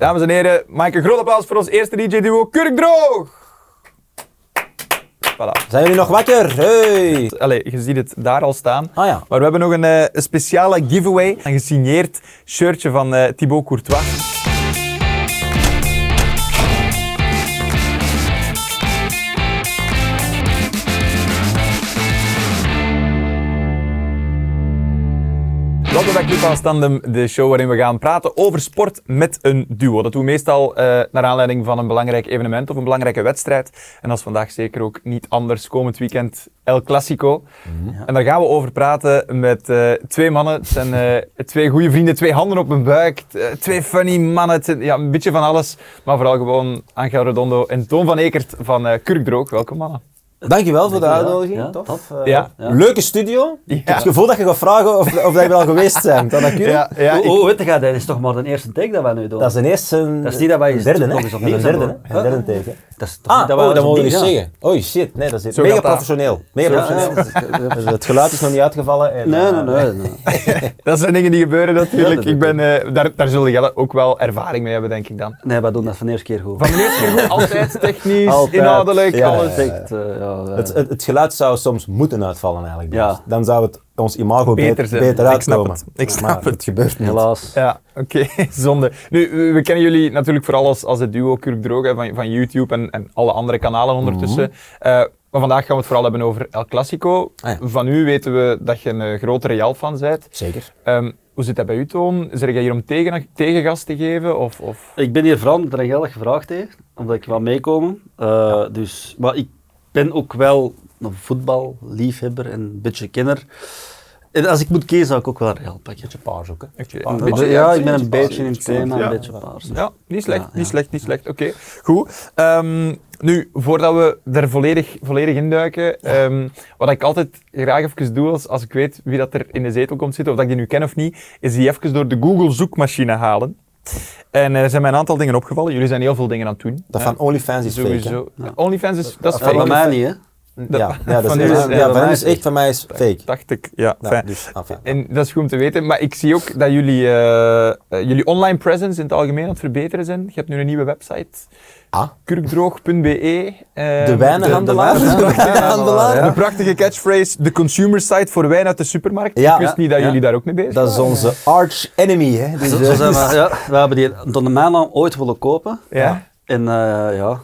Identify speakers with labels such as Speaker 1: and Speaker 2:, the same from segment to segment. Speaker 1: Dames en heren, maak een groot applaus voor ons eerste DJ-duo Kurkdroog! Voilà.
Speaker 2: Zijn jullie nog wakker? Hey!
Speaker 1: Allee, je ziet het daar al staan.
Speaker 2: Ah ja.
Speaker 1: Maar we hebben nog een eh, een speciale giveaway. Een gesigneerd shirtje van eh Thibaut Courtois. Welkom bij Clubhouse Tandem, de show waarin we gaan praten over sport met een duo. Dat doen we meestal eh, naar aanleiding van een belangrijk evenement of een belangrijke wedstrijd. En dat is vandaag zeker ook niet anders. Komend weekend El Clasico. En daar gaan we over praten met eh, twee mannen. Het zijn eh, twee goede vrienden, twee handen op mijn buik, t- eh, twee funny mannen. Het zijn, ja, een beetje van alles, maar vooral gewoon Angel Redondo en Toon van Ekert van eh Kurkdroog. Welkom mannen.
Speaker 2: Dankjewel voor de
Speaker 3: Dankjewel.
Speaker 2: uitnodiging.
Speaker 3: Ja,
Speaker 2: Tof.
Speaker 3: tof.
Speaker 2: Eh,
Speaker 1: Ja.
Speaker 2: Leuke studio. Ik heb het gevoel dat je gaat vragen of, of dat je wel geweest bent. Kan dat kunnen?
Speaker 1: Ja, ja,
Speaker 3: oh,
Speaker 1: ik-
Speaker 3: oh, weet je, dat is toch maar de eerste take dat wij nu doen.
Speaker 2: Dat is een eerste... een-
Speaker 3: Dat is niet dat wij
Speaker 2: een
Speaker 3: eens
Speaker 2: derde, hè?
Speaker 3: nog
Speaker 2: Dat
Speaker 3: eens
Speaker 2: is
Speaker 3: opnieuw
Speaker 2: een
Speaker 3: zijn,
Speaker 2: derde, hè?
Speaker 3: hoor.
Speaker 2: Een derde tegen.
Speaker 3: Dat is toch
Speaker 2: Ah,
Speaker 3: niet dat wij
Speaker 2: oh, dat
Speaker 3: ons
Speaker 2: mogen we
Speaker 3: ding
Speaker 2: niet
Speaker 3: gaan.
Speaker 2: zeggen. Oh shit, nee, dat is
Speaker 1: Zo
Speaker 2: mega
Speaker 1: gaat dat.
Speaker 2: professioneel. Mega
Speaker 3: Ja,
Speaker 2: professioneel.
Speaker 3: ja, dat is-
Speaker 2: Dus het geluid is nog niet uitgevallen. En,
Speaker 3: Nee,
Speaker 2: eh,
Speaker 3: nee, nee. nee.
Speaker 1: Dat zijn dingen die gebeuren natuurlijk.
Speaker 3: Ja,
Speaker 1: ik
Speaker 3: dat-
Speaker 1: ben, eh, daar, daar zullen jullie ook wel ervaring mee hebben, denk ik dan.
Speaker 3: Nee, wij doen dat van de eerste keer goed.
Speaker 1: Van de eerste keer goed, altijd technisch,
Speaker 2: Altijd.
Speaker 1: inhoudelijk,
Speaker 2: Ja,
Speaker 1: alles.
Speaker 2: ja, ja.
Speaker 3: Echt, eh, ja, eh,
Speaker 2: Het, het, het geluid zou soms moeten uitvallen eigenlijk. bij
Speaker 3: Ja.
Speaker 2: ons. Dan zou het ons imago
Speaker 1: Beter
Speaker 2: beter,
Speaker 1: zijn.
Speaker 2: beter
Speaker 1: Ik snap
Speaker 2: uitkomen.
Speaker 1: het. Ik snap
Speaker 2: maar het gebeurt niet.
Speaker 3: helaas.
Speaker 1: Ja, oké, zonde. Nu, we- we kennen jullie natuurlijk vooral als, als het duo Kurk Droog hè, van, van YouTube en, en alle andere kanalen ondertussen. Eh, maar vandaag gaan we het vooral hebben over El Clasico.
Speaker 2: Mhm. Ah ja.
Speaker 1: Van u weten we dat je een eh, grote Real-fan bent.
Speaker 2: Zeker.
Speaker 1: Ehm, hoe zit dat bij u, Toon? Zeg jij hier om tegen, tegengas te geven? Of, of...
Speaker 3: Ik ben hier Fran Drangelig gevraagd heeft, omdat ik wil meekomen. Eh, dus, maar ik ben ook wel een voetballiefhebber en een beetje kenner. En als ik moet kiezen, zou ik ook wel Real pakken.
Speaker 2: Beetje paars ook, hè?
Speaker 1: Oké,
Speaker 2: paars.
Speaker 1: een
Speaker 3: Een beetje-
Speaker 1: beetje-
Speaker 3: ja, ik ben een beetje in het thema,
Speaker 1: Ja.
Speaker 3: een beetje paars.
Speaker 1: Ja, niet slecht,
Speaker 3: Ja, ja.
Speaker 1: niet slecht, niet slecht. Oké, goed. Ehm, nu, voordat we er volledig, volledig induiken, ehm wat ik altijd graag even doe als, als ik weet wie dat er in de zetel komt zitten, of dat ik die nu ken of niet, is die even door de Google zoekmachine halen. En eh, er zijn mij een aantal dingen opgevallen. Jullie zijn heel veel dingen aan het doen.
Speaker 2: Dat
Speaker 1: hè.
Speaker 2: van OnlyFans is fake, hè?
Speaker 1: Sowieso. OnlyFans is, dat is
Speaker 3: Dat
Speaker 1: fake.
Speaker 3: bij mij niet, hè?
Speaker 1: Dat-
Speaker 2: ja, ja, dat
Speaker 1: van
Speaker 2: is,
Speaker 1: u is-
Speaker 2: ja,
Speaker 1: ja,
Speaker 2: ja,
Speaker 3: bij
Speaker 2: van
Speaker 3: mij
Speaker 2: hem
Speaker 3: is
Speaker 2: is echt, van mij is fake.
Speaker 1: Dacht ik, ja.
Speaker 2: Ja,
Speaker 1: fijn.
Speaker 2: dus, enfin, ja.
Speaker 1: En dat is goed om te weten, maar ik zie ook dat jullie, eh, eh, jullie online presence in het algemeen aan het verbeteren zijn. Je hebt nu een nieuwe website,
Speaker 2: Ah.
Speaker 1: kurkdroog.be. eh,
Speaker 2: De wijnhandelaar.
Speaker 1: De, de,
Speaker 2: De wijnhandelaar,
Speaker 1: prachtige-
Speaker 2: ja.
Speaker 1: de prachtige catchphrase, de consumer site voor wijn uit de supermarkt.
Speaker 2: Ja.
Speaker 1: ik wist niet dat jullie daar ook mee bezig
Speaker 2: Dat is onze arch enemy, hè? Dus,
Speaker 3: Zo,
Speaker 2: eh,
Speaker 3: zo zijn we, ja, we hebben die door de mijnnaam ooit willen kopen.
Speaker 1: waren. Ja.
Speaker 3: En eh, ja,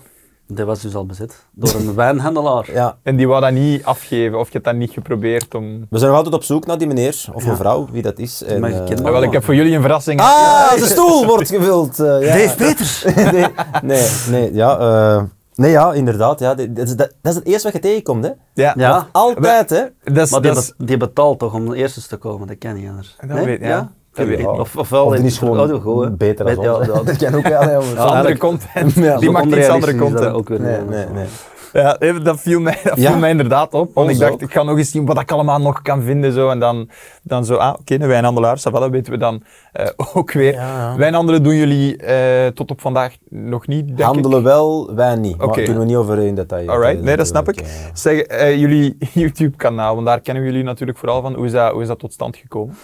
Speaker 3: dat was dus al bezit. Door een wijnhandelaar.
Speaker 2: ja.
Speaker 1: En die wou dat niet afgeven, of je hebt dat niet geprobeerd om...
Speaker 2: We zijn nog altijd op zoek naar die meneer, of mevrouw, wie dat is. En,
Speaker 3: mag je
Speaker 2: eh,
Speaker 3: kennen.
Speaker 1: Ah, wel, ik heb voor jullie een verrassing.
Speaker 2: Ah, de stoel wordt gevuld. eh, ja.
Speaker 3: Peters!
Speaker 2: nee, nee, nee, ja, eh, nee, ja, inderdaad. Ja, dit- dit is- dat, dat is het eerste wat je tegenkomt, hè?
Speaker 1: Ja.
Speaker 3: Ja.
Speaker 2: Want Altijd, hè?
Speaker 1: Dat is...
Speaker 3: Maar die,
Speaker 1: dat is-
Speaker 3: be- die betaalt toch om de eerste te komen, dat ken je anders.
Speaker 1: dat
Speaker 2: Nee?
Speaker 1: weet, ja.
Speaker 3: Ja?
Speaker 1: Dat weet ik.
Speaker 2: Ja.
Speaker 3: Of, ofwel
Speaker 2: Of die is
Speaker 3: oh, doe
Speaker 2: gewoon
Speaker 3: goed, hè.
Speaker 2: beter
Speaker 3: Weet-
Speaker 2: dan ons.
Speaker 3: ja, ja,
Speaker 2: dat kan ook wel, hè, jongens.
Speaker 1: Dat is andere
Speaker 3: eigenlijk-
Speaker 1: content.
Speaker 2: Ja,
Speaker 1: die
Speaker 3: Zo
Speaker 1: maakt iets
Speaker 3: onrealistisch
Speaker 1: andere
Speaker 3: is dat
Speaker 1: content.
Speaker 3: ook weer
Speaker 2: Nee,
Speaker 3: niet,
Speaker 2: nee,
Speaker 3: hè.
Speaker 2: nee.
Speaker 1: Ja, even, dat viel mij, dat
Speaker 2: Ja.
Speaker 1: viel mij inderdaad op. Want
Speaker 3: Oh,
Speaker 2: Ons
Speaker 1: ik dacht,
Speaker 2: ook.
Speaker 1: ik ga nog eens zien wat ik allemaal nog kan vinden. Zo. En dan, dan zo, ah, oké, een wijnhandelaar, ça va, dat weten we dan eh, ook weer.
Speaker 2: Ja, ja.
Speaker 1: Wijnhandelen doen jullie eh, tot op vandaag nog niet, denk ik.
Speaker 2: Handelen wel, wij niet. Maar
Speaker 1: Oké.
Speaker 2: daar kunnen we niet over in detail. eh,
Speaker 1: Alright, nee, dat snap ik. Zeg, eh, jullie YouTube-kanaal, want daar kennen we jullie natuurlijk vooral van. Hoe is dat, hoe is dat tot stand gekomen?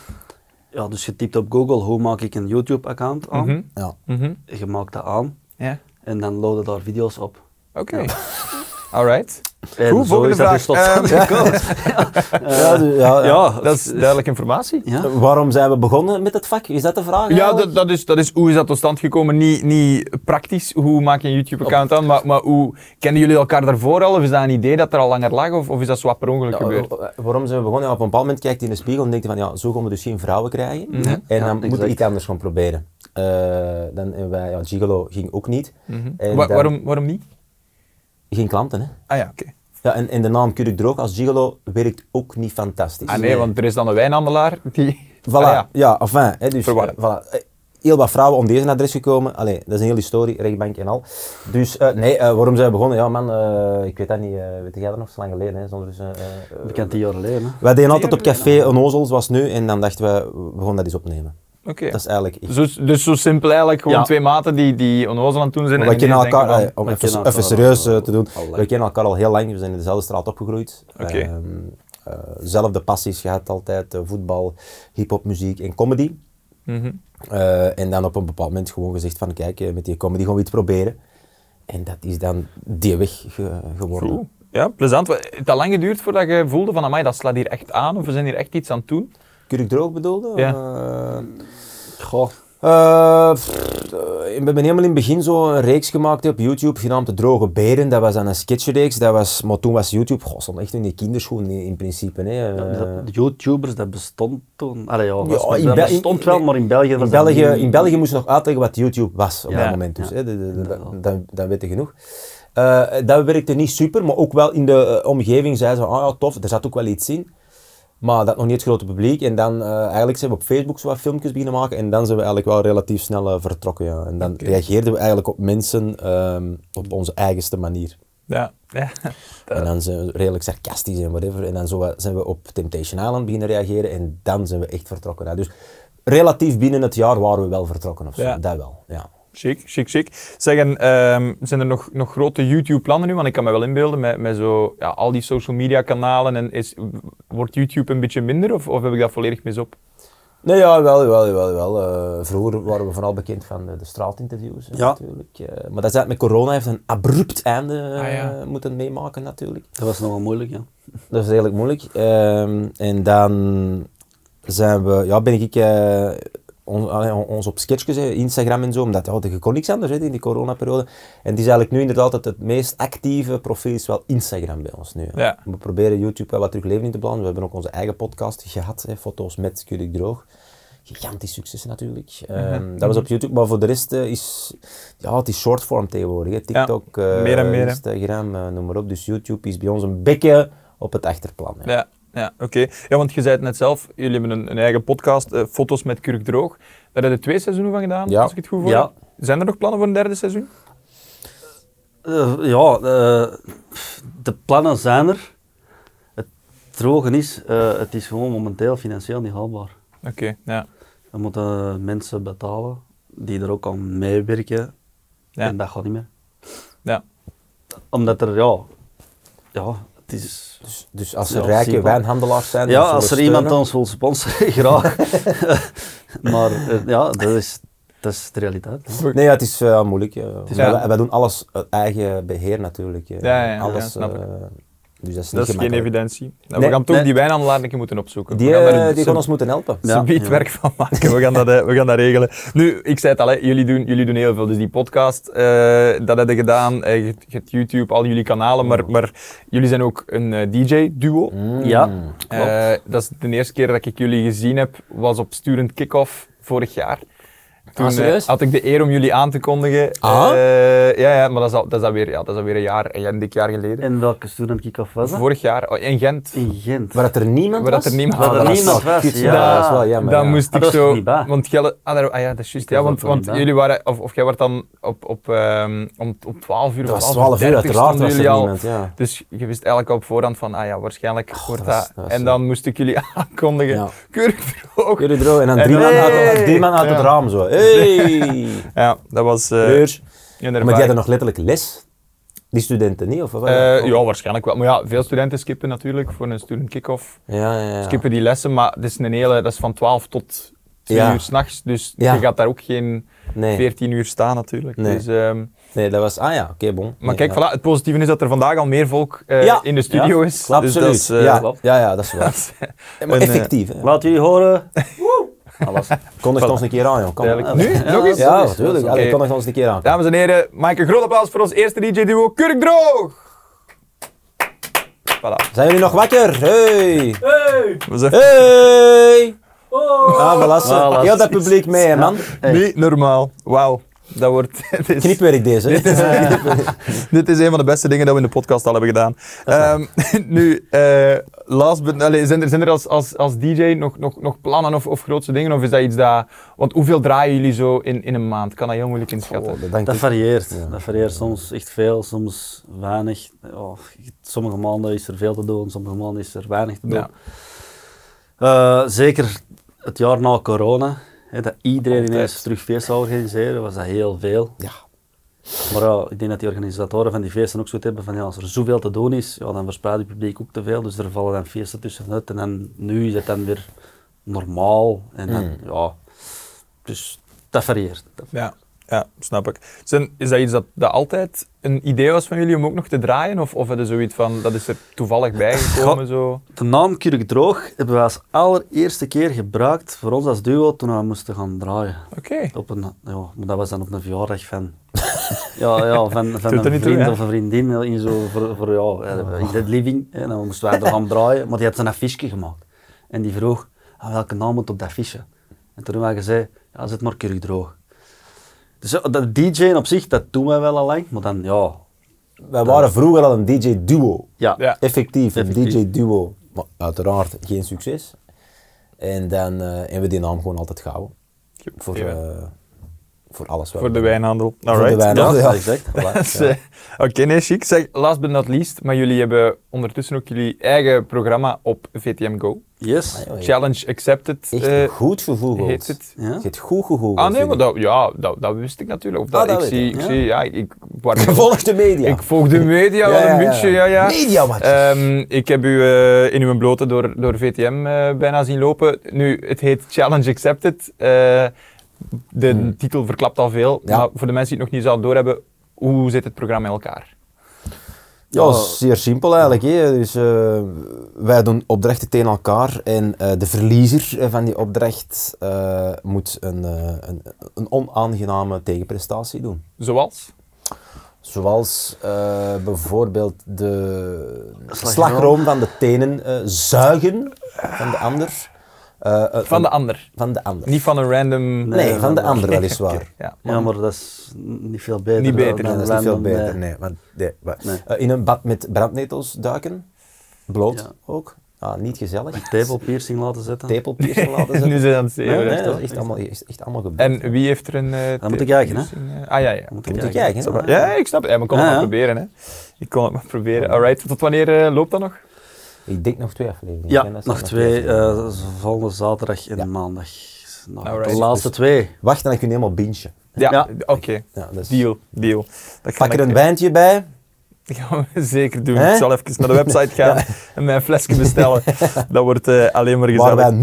Speaker 3: Ja, dus je typt op Google, hoe maak ik een YouTube-account aan?
Speaker 1: Mhm,
Speaker 2: Ja.
Speaker 1: mhm,
Speaker 3: Je maakt dat aan
Speaker 1: Ja,
Speaker 3: en dan loaden daar video's op.
Speaker 1: oké. Alright.
Speaker 3: En
Speaker 1: Goed,
Speaker 3: zo
Speaker 1: volgende
Speaker 3: is dat
Speaker 1: vraag.
Speaker 3: dus tot
Speaker 1: Ehm,
Speaker 3: stand gekomen.
Speaker 1: Eh,
Speaker 2: Ja, dus- ja, ja.
Speaker 3: Ja,
Speaker 1: Dat is duidelijke informatie.
Speaker 3: ja.
Speaker 2: Waarom zijn we begonnen met het vak? Is dat de vraag?
Speaker 1: Ja,
Speaker 2: eigenlijk?
Speaker 1: dat, dat, is, dat is hoe is dat tot stand gekomen. Niet, niet praktisch, hoe maak je een YouTube-account aan, maar, maar hoe kennen jullie elkaar daarvoor al? Of is dat een idee dat er al langer lag? Of, of is dat zo wat per ongeluk
Speaker 2: Ja,
Speaker 1: gebeurd?
Speaker 2: wa- waarom zijn we begonnen? Ja, op een bepaald moment kijkt hij in de spiegel en denkt hij van ja, zo gaan we dus geen vrouwen krijgen.
Speaker 1: Mhm.
Speaker 2: En
Speaker 3: Ja,
Speaker 2: dan moeten we
Speaker 3: exact.
Speaker 2: iets anders gaan proberen. Eh, dan hebben wij, ja, Gigolo ging ook niet. Mhm. En
Speaker 1: Mhm. Wa-
Speaker 2: dan-
Speaker 1: waarom, waarom niet?
Speaker 2: Geen klanten, hè?
Speaker 1: Ah ja, oké.
Speaker 2: Ja, en, en de naam Kurk Droog als Gigolo werkt ook niet fantastisch.
Speaker 1: Ah nee, want er is dan een wijnhandelaar die...
Speaker 2: Voilà,
Speaker 1: Ah,
Speaker 2: ja.
Speaker 1: ja.
Speaker 2: enfin, hè, dus,
Speaker 1: Verwarrend.
Speaker 2: eh, voilà. Eh, Heel wat vrouwen om deze adres gekomen. Allee, dat is een hele historie, rechtbank en al. Dus eh, nee, eh, waarom zijn we begonnen? Ja man, eh, ik weet dat niet. eh, weet jij dat nog? Zo lang geleden, hè? Zonder dus, eh, eh,
Speaker 3: bekend tien jaar geleden. hè.
Speaker 2: Wij deden altijd op café Onnozel, zoals nu, en dan dachten we, we gaan dat eens opnemen.
Speaker 1: Oké.
Speaker 2: Dat is eigenlijk... Ik,
Speaker 1: Zo, dus zo simpel eigenlijk, gewoon
Speaker 3: Ja.
Speaker 1: twee maten die, die onnozel aan het doen zijn.
Speaker 2: we
Speaker 1: en die
Speaker 2: kennen
Speaker 1: denken
Speaker 2: elkaar,
Speaker 1: van-
Speaker 2: eh, om
Speaker 3: we
Speaker 2: even,
Speaker 3: kennen
Speaker 2: even
Speaker 3: elkaar
Speaker 2: serieus
Speaker 3: al-
Speaker 2: eh, te doen,
Speaker 3: al lang.
Speaker 2: we kennen elkaar al heel lang, we zijn in dezelfde straat opgegroeid.
Speaker 1: Oké.
Speaker 2: Ehm, eh, zelfde passies gehad altijd, eh, voetbal, hiphopmuziek en comedy.
Speaker 1: Mhm.
Speaker 2: Eh, en dan op een bepaald moment gewoon gezegd van kijk, eh, met die comedy gaan we iets proberen. En dat is dan die weg ge- geworden.
Speaker 1: Cool. Ja, plezant. Wat- Het had lang geduurd voordat je voelde van, amai, dat slaat hier echt aan, of we zijn hier echt iets aan het doen.
Speaker 2: Kurk droog bedoelde?
Speaker 1: Ja.
Speaker 2: Eh,
Speaker 3: Goh.
Speaker 2: Eh, pff, eh, ik ben helemaal in het begin zo een reeks gemaakt op YouTube, genaamd De Droge Beren. Dat was dan een sketchreeks. Dat was, maar toen was YouTube, goh, stond echt in die kinderschoenen in, in principe. Hè. Eh,
Speaker 3: De YouTubers, dat bestond toen. Allee, ja, dat
Speaker 2: Ja,
Speaker 3: was-
Speaker 2: in
Speaker 3: dat
Speaker 2: Bel-
Speaker 3: bestond
Speaker 2: in-
Speaker 3: wel, maar in België
Speaker 2: in,
Speaker 3: was
Speaker 2: België,
Speaker 3: dat niet-
Speaker 2: in België moest je nog uitleggen wat YouTube was op
Speaker 3: Ja.
Speaker 2: dat moment. Dus,
Speaker 3: Ja.
Speaker 2: hè, de- de- de-
Speaker 3: Inderdaad.
Speaker 2: dan, dan weet je genoeg. Eh, dat werkte niet super, maar ook wel in de eh, omgeving zeiden ze, ah ja, tof, er zat ook wel iets in. Maar dat nog niet het grote publiek. En dan eh, eigenlijk zijn we op Facebook zo wat filmpjes beginnen maken. En dan zijn we eigenlijk wel relatief snel eh, vertrokken. Ja. En dan reageerden we eigenlijk op mensen ehm, op onze eigenste manier.
Speaker 1: Ja. ja.
Speaker 2: En dan zijn we redelijk sarcastisch en whatever. En dan zo wat zijn we op Temptation Island beginnen reageren. En dan zijn we echt vertrokken. Ja. Dus relatief binnen het jaar waren we wel vertrokken of zo.
Speaker 1: Ja.
Speaker 2: Dat wel, ja.
Speaker 1: Chic, chic, chic. Zeg, en, ehm, zijn er nog, nog grote YouTube-plannen nu? Want ik kan me wel inbeelden met, met zo, ja, al die social media-kanalen. En is, wordt YouTube een beetje minder of, of heb ik dat volledig mis op?
Speaker 2: Nee, ja, wel, wel, wel, wel. Eh, vroeger waren we vooral bekend van de, de straatinterviews hè,
Speaker 3: Ja.
Speaker 2: natuurlijk. Eh, maar dat is eigenlijk met corona heeft een abrupt einde eh,
Speaker 1: Ah, ja.
Speaker 2: moeten meemaken natuurlijk.
Speaker 3: Dat was nogal moeilijk, ja.
Speaker 2: Dat is redelijk moeilijk. Ehm, en dan zijn we, ja, ben ik eh, on- allee, on- ons op sketchjes, hè, Instagram en zo, omdat ja, je kon niks anders hè, in die coronaperiode. En het is eigenlijk nu inderdaad het, het meest actieve profiel is wel Instagram bij ons nu. hè.
Speaker 1: Ja.
Speaker 2: We proberen YouTube wel wat terug leven in te blazen. We hebben ook onze eigen podcast gehad, hè, foto's met Kurik Droog. Gigantisch succes natuurlijk. Ehm,
Speaker 1: Mhm.
Speaker 2: Dat was op YouTube, maar voor de rest eh, is ja, het is shortform tegenwoordig. Hè. TikTok, eh,
Speaker 1: meer en meer, hè.
Speaker 2: Instagram, eh, noem maar op. Dus YouTube is bij ons een beetje op het achterplan. hè.
Speaker 1: Ja, ja oké. Ja, want je zei het net zelf, jullie hebben een, een eigen podcast, eh, Foto's met Kurk Droog. Daar hebben we twee seizoenen van gedaan,
Speaker 2: Ja.
Speaker 1: als ik het goed voor
Speaker 3: Ja.
Speaker 1: heb. Zijn er nog plannen voor een derde seizoen?
Speaker 3: Eh, ja, eh, de plannen zijn er. Het drogen is, eh, het is gewoon momenteel financieel niet haalbaar.
Speaker 1: Oké, ja.
Speaker 3: We moeten mensen betalen die er ook aan meewerken.
Speaker 1: Ja.
Speaker 3: En dat gaat niet meer.
Speaker 1: ja.
Speaker 3: Omdat er, ja, ja het is...
Speaker 2: Dus, dus als
Speaker 3: Ja,
Speaker 2: er rijke
Speaker 3: zeker.
Speaker 2: wijnhandelaars zijn...
Speaker 3: Ja,
Speaker 2: die
Speaker 3: als er
Speaker 2: zullen
Speaker 3: iemand
Speaker 2: steunen,
Speaker 3: ons wil sponsoren, graag. maar eh, ja, dat is, dat is de realiteit. hè.
Speaker 2: Nee, ja, het is eh, moeilijk. eh,
Speaker 1: Ja.
Speaker 2: wij, wij doen alles uit eigen beheer natuurlijk. eh.
Speaker 1: Ja, ja, ja,
Speaker 2: alles,
Speaker 1: snap ik.
Speaker 2: eh, dus dat is niet
Speaker 1: Dat is geen
Speaker 2: gemakkelijk.
Speaker 1: evidentie. Nou,
Speaker 2: Nee,
Speaker 1: we gaan toch
Speaker 3: nee.
Speaker 1: die wijnhandelaar een keer moeten opzoeken.
Speaker 2: Die,
Speaker 1: we gaan daar
Speaker 2: eh,
Speaker 1: een-
Speaker 2: die gaan ons moeten helpen.
Speaker 3: Ja.
Speaker 1: Subiet werk van maken. We gaan, dat, eh, we gaan dat regelen. Nu, ik zei het al, hè, jullie, doen, jullie doen heel veel. Dus die podcast, eh, dat hebben gedaan. eh, je je hebt YouTube, al jullie kanalen. Maar, maar jullie zijn ook een eh, DJ-duo.
Speaker 2: Mm.
Speaker 3: Ja,
Speaker 1: Eh, dat is de eerste keer dat ik jullie gezien heb, was op Sturend Kick-Off vorig jaar. Toen
Speaker 2: Ah, serieus?
Speaker 1: eh, had ik de eer om jullie aan te kondigen.
Speaker 2: Ah?
Speaker 1: Eh, ja, ja, maar dat is, al, dat is alweer, ja, dat is alweer een jaar, een dik jaar geleden.
Speaker 3: En welke student kick-off was dat?
Speaker 1: Vorig jaar, oh, in Gent.
Speaker 3: In Gent.
Speaker 2: Waar dat er niemand
Speaker 1: Waar dat
Speaker 2: was?
Speaker 1: er niemand
Speaker 2: Ah,
Speaker 1: was.
Speaker 2: dat
Speaker 1: Waar
Speaker 2: is
Speaker 3: niemand
Speaker 2: wel
Speaker 3: was,
Speaker 2: kut,
Speaker 3: ja.
Speaker 2: Dat is wel jammer.
Speaker 1: dan
Speaker 2: ja.
Speaker 1: moest
Speaker 3: Ah,
Speaker 1: ik
Speaker 3: dat is
Speaker 1: zo.
Speaker 3: er niet bij.
Speaker 1: Want Gelle, ah, daar- ah ja, dat is juist.
Speaker 3: Ik
Speaker 1: Ja,
Speaker 3: was
Speaker 1: want,
Speaker 3: er niet
Speaker 1: want
Speaker 3: bij.
Speaker 1: jullie waren, of, of jij werd dan op, op, ehm, om, om 12 uur
Speaker 2: Het was
Speaker 1: of
Speaker 2: 12 uur,
Speaker 1: 30
Speaker 2: uiteraard
Speaker 1: stonden
Speaker 2: was
Speaker 1: jullie
Speaker 2: er
Speaker 1: al.
Speaker 2: niemand. Ja.
Speaker 1: Dus je wist eigenlijk al op voorhand van, ah ja, waarschijnlijk wordt
Speaker 2: dat
Speaker 1: dat.
Speaker 2: was- dat was
Speaker 1: en
Speaker 2: zo.
Speaker 1: dan moest ik jullie aankondigen.
Speaker 2: Ja.
Speaker 1: Keurig droog.
Speaker 2: Jullie droog. En dan
Speaker 1: En
Speaker 2: drie, man
Speaker 1: dan-
Speaker 2: uit,
Speaker 1: Hey!
Speaker 2: drie man uit
Speaker 1: Ja.
Speaker 2: het raam zo. Hey!
Speaker 1: Ja, dat was. eh,
Speaker 2: Kleur.
Speaker 1: een
Speaker 2: Maar die
Speaker 1: ervaring.
Speaker 2: hadden nog letterlijk les? Die studenten niet? Of wat?
Speaker 1: Eh, ja, waarschijnlijk wel. Maar ja, veel studenten skippen natuurlijk voor een student kick-off.
Speaker 2: ja, ja, ja.
Speaker 1: Skippen die lessen, maar het is een hele, dat is van 12 tot 2
Speaker 2: Ja.
Speaker 1: uur s'nachts. Dus
Speaker 2: Ja.
Speaker 1: je gaat daar ook geen
Speaker 2: Nee.
Speaker 1: 14 uur staan natuurlijk.
Speaker 2: Nee.
Speaker 1: Dus, ehm,
Speaker 2: nee, dat was... Ah ja, oké, bon.
Speaker 1: Maar
Speaker 2: Nee,
Speaker 1: kijk,
Speaker 2: ja.
Speaker 1: voilà, het positieve is dat er vandaag al meer volk eh,
Speaker 2: Ja.
Speaker 1: in de studio
Speaker 3: Ja.
Speaker 1: is. Dus
Speaker 2: Absoluut.
Speaker 1: dat is, eh,
Speaker 2: ja.
Speaker 3: klopt.
Speaker 2: ja, ja, dat is waar. maar
Speaker 1: een, eh,
Speaker 2: effectief, hè.
Speaker 3: Laat jullie horen. Ah, Alles.
Speaker 2: Kondig het ons een keer aan, joh. Kom.
Speaker 1: duidelijk. Nu?
Speaker 3: Ja,
Speaker 1: Nog eens?
Speaker 2: Ja,
Speaker 3: Sorry,
Speaker 2: natuurlijk.
Speaker 3: sorry.
Speaker 2: Allee,
Speaker 1: Oké.
Speaker 2: Kondig het ons een keer aan.
Speaker 1: Dames en heren, maak een groot applaus voor ons eerste DJ-duo Kurk Droog. Voilà.
Speaker 2: Zijn jullie nog wakker? Hey!
Speaker 1: We zijn
Speaker 2: Hey! Ah, voilà. zo.
Speaker 3: Voilà.
Speaker 2: Heel dat publiek mee, hè, man.
Speaker 1: niet normaal. Wauw. Dat wordt... dit, is,
Speaker 2: Knipwerk deze. hè.
Speaker 1: dit is een van de beste dingen dat we in de podcast al hebben gedaan. Ehm, nu, eh, last but... Allee, zijn er, zijn er als, als, als DJ nog, nog, nog plannen of, of grootste dingen? Of is dat iets dat... Want hoeveel draaien jullie zo in, in een maand? Kan dat heel moeilijk inschatten.
Speaker 2: Oh, bedankt.
Speaker 3: Dat varieert. Dat varieert soms echt veel, soms weinig. Ja, sommige maanden is er veel te doen, sommige maanden is er weinig te doen.
Speaker 1: Ja.
Speaker 3: Eh, zeker het jaar na corona, hè, dat iedereen ineens terug feest zou organiseren, was dat heel veel.
Speaker 2: Ja.
Speaker 3: Maar ja, ik denk dat die organisatoren van die feesten ook zoiets hebben van ja, als er zoveel te doen is, ja, dan verspreidt het publiek ook te veel. Dus er vallen dan feesten tussenuit en dan, nu is het dan weer normaal. En dan, ja, Dus dat varieert.
Speaker 1: Ja. Ja, snap ik. Zijn, is dat iets dat, dat altijd een idee was van jullie om ook nog te draaien? Of, of hadden zoiets van, dat is er toevallig bijgekomen? Zo?
Speaker 3: De naam Kurk Droog hebben we als allereerste keer gebruikt voor ons als duo toen we moesten gaan draaien.
Speaker 1: Oké.
Speaker 3: Op een, ja, maar dat was dan op een verjaardag van, ja, ja, van, van
Speaker 1: dat
Speaker 3: een
Speaker 1: niet
Speaker 3: vriend
Speaker 1: doen, hè?
Speaker 3: of een vriendin eh, in zo voor, voor ja, in de living. Hè, en dan moesten wij er gaan draaien, maar die had een affiche gemaakt. En die vroeg, ah, welke naam moet op dat affiche? En toen hebben wij gezegd, ja, zet maar Kurk Droog. Dus ja, dat DJ'en op zich, dat doen wij wel al lang, maar dan, ja,
Speaker 2: Wij waren vroeger al een DJ-duo.
Speaker 3: ja.
Speaker 1: Ja.
Speaker 2: Effectief, een
Speaker 3: Effectief.
Speaker 2: DJ-duo. Maar uiteraard geen succes. En dan eh, hebben we die naam gewoon altijd gehouden. Voor,
Speaker 1: Ja.
Speaker 2: eh, voor alles wat
Speaker 1: Voor
Speaker 2: we
Speaker 1: de
Speaker 2: doen.
Speaker 1: wijnhandel.
Speaker 2: Voor de
Speaker 1: Alright.
Speaker 2: wijn,
Speaker 3: Ja,
Speaker 2: ja.
Speaker 3: exact.
Speaker 2: Voilà,
Speaker 1: Dus,
Speaker 2: ja.
Speaker 1: eh, Oké, nee, chic. Zeg, last but not least, maar jullie hebben ondertussen ook jullie eigen programma op VTM Go.
Speaker 3: Yes.
Speaker 2: Ah, ja.
Speaker 1: Challenge accepted.
Speaker 2: Echt
Speaker 1: eh,
Speaker 2: goed gevoegeld.
Speaker 1: heet het?
Speaker 3: Ja.
Speaker 2: Je hebt goed gegoogeld.
Speaker 1: ah nee,
Speaker 2: vind
Speaker 1: maar
Speaker 2: ik.
Speaker 1: dat, ja, dat, dat wist ik natuurlijk. Of
Speaker 2: Ah,
Speaker 1: dat,
Speaker 2: dat
Speaker 1: ik,
Speaker 2: weet
Speaker 1: zie,
Speaker 2: ik,
Speaker 1: ik
Speaker 3: ja.
Speaker 1: zie, ja, ik, ik, waar-
Speaker 2: Je volgt de media.
Speaker 1: ik volg de media wel een beetje, ja, ja.
Speaker 2: Media, wat?
Speaker 1: Ehm, ik heb u eh, in uw blote door, door VTM eh, bijna zien lopen. Nu, het heet Challenge Accepted. Eh, de titel verklapt al veel.
Speaker 2: Hmm. Ja.
Speaker 1: Maar voor de mensen die het nog niet zouden doorhebben, hoe zit het programma in elkaar?
Speaker 2: Ja,
Speaker 1: oh.
Speaker 3: Ja.
Speaker 2: zeer simpel eigenlijk. Hè. Dus, eh, wij doen opdrachten tegen elkaar en eh, de verliezer eh, van die opdracht eh, moet een, eh, een, een onaangename tegenprestatie doen.
Speaker 1: Zoals?
Speaker 2: Zoals eh, bijvoorbeeld de
Speaker 3: Slagroom.
Speaker 2: slagroom. van de tenen eh, zuigen van de ander. Eh, eh,
Speaker 1: Van de ander.
Speaker 2: van de ander.
Speaker 1: Niet van een random...
Speaker 2: nee,
Speaker 3: Nee,
Speaker 2: van de
Speaker 3: van-
Speaker 2: ander weliswaar.
Speaker 1: Oké, ja.
Speaker 3: Ja, maar dat is n- niet veel beter.
Speaker 1: Niet beter,
Speaker 3: dan- eh,
Speaker 2: Nee, dat is niet
Speaker 3: dan-
Speaker 2: veel beter.
Speaker 3: dan-
Speaker 2: Nee. want- nee, maar-
Speaker 3: Nee.
Speaker 2: Eh, in een bad met brandnetels duiken. Bloot
Speaker 3: Ja.
Speaker 2: ook. Ah, niet gezellig.
Speaker 3: Tepel Ah. piercing laten zetten.
Speaker 2: tepelpiercing laten zetten.
Speaker 1: nu zijn ze aan het zeven.
Speaker 2: Nee, nee,
Speaker 1: echt,
Speaker 2: dat
Speaker 1: hoor.
Speaker 2: is echt allemaal, echt, echt allemaal gebeurd.
Speaker 1: En wie heeft er een... eh,
Speaker 3: Dan moet ik kijken, hè?
Speaker 1: piercing, eh? Ah, ja, ja.
Speaker 3: Moet
Speaker 2: Moet je
Speaker 3: kijken.
Speaker 2: kijken. hè?
Speaker 1: Ja, ik snap het. Ja, maar ik kon
Speaker 3: Ja,
Speaker 1: het maar
Speaker 3: ja.
Speaker 1: proberen, hè. Ik kon het maar proberen. Alright, tot wanneer eh, loopt dat nog?
Speaker 2: Ik denk nog twee afleveringen.
Speaker 3: Ja,
Speaker 2: Ik denk dat ze
Speaker 3: nog twee.
Speaker 2: afleveringen
Speaker 3: eh, volgende zaterdag en maandag. Nou,
Speaker 1: Alright. Dus-
Speaker 3: de laatste twee.
Speaker 2: hebben. Wacht, en dan kun je helemaal bingen.
Speaker 1: Ja,
Speaker 3: Ja.
Speaker 1: oké.
Speaker 2: Ja, dus
Speaker 1: Deal, deal. Dat
Speaker 2: Pak
Speaker 1: ik-
Speaker 2: er een wijntje bij.
Speaker 1: Dat gaan we zeker doen.
Speaker 2: Hè?
Speaker 1: Ik zal even naar de website gaan en mijn flesje bestellen. Dat wordt eh, alleen maar
Speaker 2: Waar
Speaker 1: gezellig.
Speaker 2: wij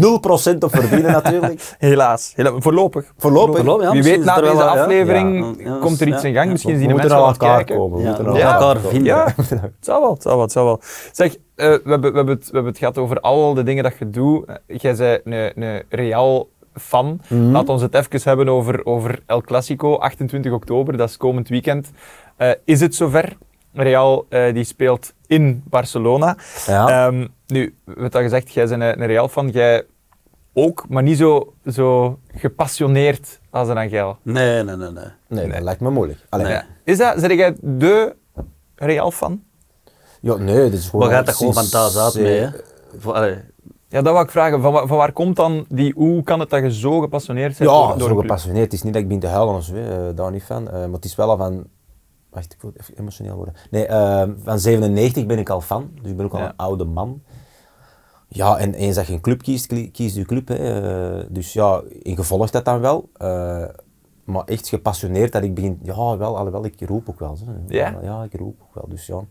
Speaker 2: 0% op verdienen natuurlijk.
Speaker 1: Helaas. Hela- Voorlopig.
Speaker 2: Voorlopig.
Speaker 3: Voorlopig, ja,
Speaker 1: Wie
Speaker 3: misschien
Speaker 1: weet,
Speaker 3: is
Speaker 1: na
Speaker 3: er wel
Speaker 1: deze
Speaker 3: wat, ja.
Speaker 1: aflevering
Speaker 3: Ja, ja,
Speaker 1: komt er
Speaker 3: ja,
Speaker 1: iets in gang.
Speaker 3: ja.
Speaker 1: Misschien
Speaker 2: We
Speaker 1: zien de
Speaker 2: moeten
Speaker 1: mensen
Speaker 2: aan
Speaker 1: wel
Speaker 2: elkaar
Speaker 1: kijken.
Speaker 2: komen. We
Speaker 3: Ja,
Speaker 2: moeten
Speaker 3: we
Speaker 2: aan
Speaker 1: moeten
Speaker 3: elkaar
Speaker 2: komen.
Speaker 3: vinden.
Speaker 1: Ja, het zal wel, het zal wel, het zal wel. Zeg, eh, we, hebben, we, hebben het, we hebben het gehad over al de dingen dat je doet. Eh, Jij bent een, een Real fan. Laat ons het even hebben over, over El Clasico, 28 oktober, dat is komend weekend. Eh, is het zover? Real eh, die speelt in Barcelona.
Speaker 2: Ja.
Speaker 1: Ehm, nu, wat al gezegd, jij bent een, een Real fan, jij ook, maar niet zo, zo gepassioneerd als een Angel.
Speaker 3: Nee, nee, nee. nee.
Speaker 2: Nee, dat lijkt me moeilijk. Allee.
Speaker 3: Nee.
Speaker 1: Is dat, zeg jij de Real fan?
Speaker 2: Ja, nee, dat is gewoon...
Speaker 3: Maar gaat dat gewoon van
Speaker 2: sinds,
Speaker 3: thuis uit mee?
Speaker 2: eh,
Speaker 3: Hè? Voor- allee,
Speaker 1: Ja, dat wil ik vragen. Van, wa- van waar komt dan die... Hoe kan het dat je zo gepassioneerd bent
Speaker 2: Ja,
Speaker 1: door, door
Speaker 2: zo
Speaker 1: een club?
Speaker 2: gepassioneerd. Het is niet dat ik ben te huilen of zo, hè, eh, daar niet van. Eh, maar het is wel al van... Wacht, ik wil even emotioneel worden. Nee, eh, van 97 ben ik al fan, dus ik ben ook al
Speaker 1: Ja.
Speaker 2: een oude man. Ja, en eens dat je een club kiest, kli- kiest je club. Hè. Eh, dus ja, in gevolg dat dan wel. Eh, maar echt gepassioneerd dat ik begin... Ja, wel, alhoewel, ik roep ook wel. Zo.
Speaker 1: Ja?
Speaker 2: Ja, ik roep ook wel, dus ja.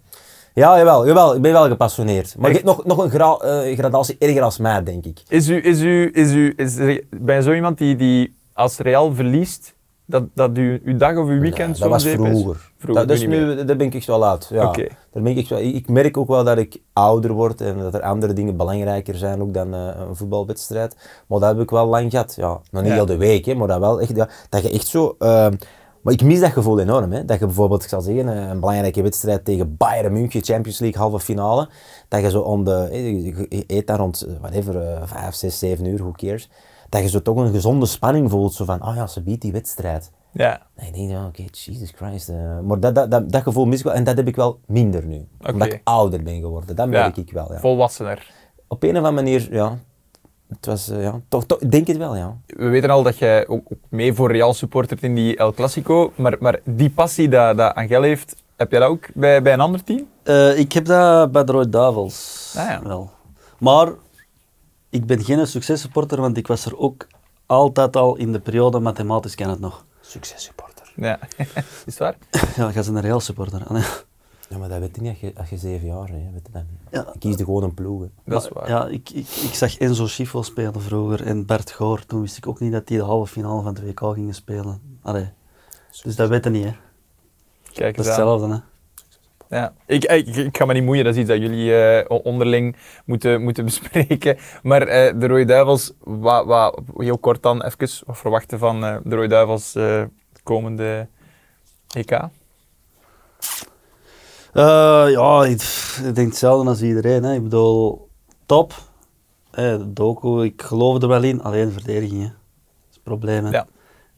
Speaker 2: Ja, jawel, jawel, ik ben wel gepassioneerd. Maar je
Speaker 1: Echt?
Speaker 2: hebt nog, nog een gra- eh, gradatie erger als mij, denk ik.
Speaker 1: Is u, is u, is u, is er- ben je zo iemand die, die als Real verliest, dat, dat u, uw dag of uw
Speaker 2: Ja,
Speaker 1: weekend zo
Speaker 2: dat was
Speaker 1: zeep is?
Speaker 2: vroeger.
Speaker 1: Vroeger,
Speaker 2: dat,
Speaker 1: nu
Speaker 2: dus
Speaker 1: niet meer.
Speaker 2: nu, daar ben ik echt wel uit. Ja.
Speaker 1: Oké.
Speaker 2: Daar ben ik, echt wel, ik ik merk ook wel dat ik ouder word en dat er andere dingen belangrijker zijn ook dan eh, een voetbalwedstrijd. Maar dat heb ik wel lang gehad. Ja. Nog niet
Speaker 1: Ja.
Speaker 2: heel de week, hè, maar dat wel echt. Ja, dat je echt zo. eh, maar ik mis dat gevoel enorm. Hè. Dat je bijvoorbeeld, ik zal zeggen, eh, een belangrijke wedstrijd tegen Bayern München, Champions League, halve finale. Dat je zo om de. eh, Je je eet daar rond, eh, whatever, eh, vijf, zes, zeven uur, who cares. Dat je zo toch een gezonde spanning voelt. Zo van, ah ja, ze biedt die wedstrijd.
Speaker 1: Ja.
Speaker 2: Nee, ik denk, ja, oké, Jesus Christ. eh, maar dat, dat, dat, dat gevoel mis ik wel en dat heb ik wel minder nu. Omdat ik ouder ben geworden, dat merk
Speaker 1: Ja.
Speaker 2: ik wel. Ja.
Speaker 1: Volwassener.
Speaker 2: Op een of andere manier, ja. Het was, eh, ja, toch, toch, ik denk het wel, ja.
Speaker 1: We weten al dat jij ook, ook mee voor Real supportert in die El Clasico, maar, maar die passie dat, dat Angel heeft, heb jij dat ook bij, bij een ander team?
Speaker 3: Eh, ik heb dat bij de Roy Davels
Speaker 1: Ah, ja.
Speaker 3: wel. Maar ik ben geen successupporter, want ik was er ook altijd al in de periode mathematisch kan het nog.
Speaker 2: Succes supporter.
Speaker 1: Ja. is het waar?
Speaker 3: ja, jij bent een Real supporter. Ah, nee.
Speaker 2: Ja, maar dat weet je niet als je, als je zeven jaar bent. hè. Weet je dat niet.
Speaker 3: Ja.
Speaker 2: Je kiest gewoon een ploeg. hè.
Speaker 1: Dat is waar.
Speaker 3: Ja, ik, ik, ik zag Enzo Schifo spelen vroeger en Bert Goor. Toen wist ik ook niet dat die de halve finale van de WK gingen spelen. Allee. Dus dat weten niet, hè.
Speaker 1: Kijk
Speaker 3: Dat is
Speaker 1: eens aan.
Speaker 3: hetzelfde, hè.
Speaker 1: Ja. Ik, eh, ik, ik ga me niet moeien, dat is iets dat jullie eh, o- onderling moeten, moeten bespreken. Maar eh, de Rode Duivels, wa, wa, heel kort dan even, wat verwachten van eh, de Rode Duivels eh, het komende EK?
Speaker 3: Eh, ja, ik, pff, ik denk hetzelfde als iedereen. Hè. Ik bedoel, top. Eh, Doku, ik geloof er wel in. Alleen de verdediging, hè. Dat is het probleem, hè.
Speaker 1: Ja.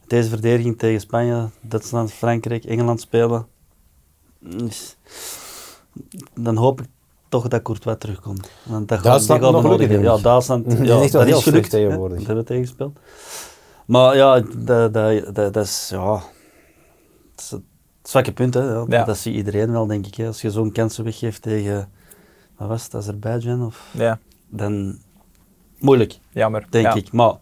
Speaker 3: Deze verdediging tegen Spanje, Duitsland, Frankrijk, Engeland spelen. Dus, dan hoop ik toch dat Courtois terugkomt. Want dat gaat-
Speaker 2: Duitsland
Speaker 3: die gaat
Speaker 2: nog
Speaker 3: hem
Speaker 2: gelukkig
Speaker 3: nodig hebben.
Speaker 2: niet.
Speaker 3: Ja, Duitsland
Speaker 2: Die
Speaker 3: ja,
Speaker 2: is echt wel
Speaker 3: dat
Speaker 2: heel
Speaker 3: is gelukt.
Speaker 2: slecht
Speaker 3: hè.
Speaker 2: tegenwoordig.
Speaker 3: Dat hebben we tegengespeeld. Maar ja, dat, dat, dat, dat is... Ja, dat is het zwakke punt, hè. Ja.
Speaker 1: Ja.
Speaker 3: Dat ziet iedereen wel, denk ik. Hè. Als je zo'n kansen weggeeft tegen, wat was het, Azerbeidzjan? Of,
Speaker 1: Ja,
Speaker 3: dan moeilijk,
Speaker 1: jammer.
Speaker 3: denk
Speaker 1: Ja.
Speaker 3: ik. Maar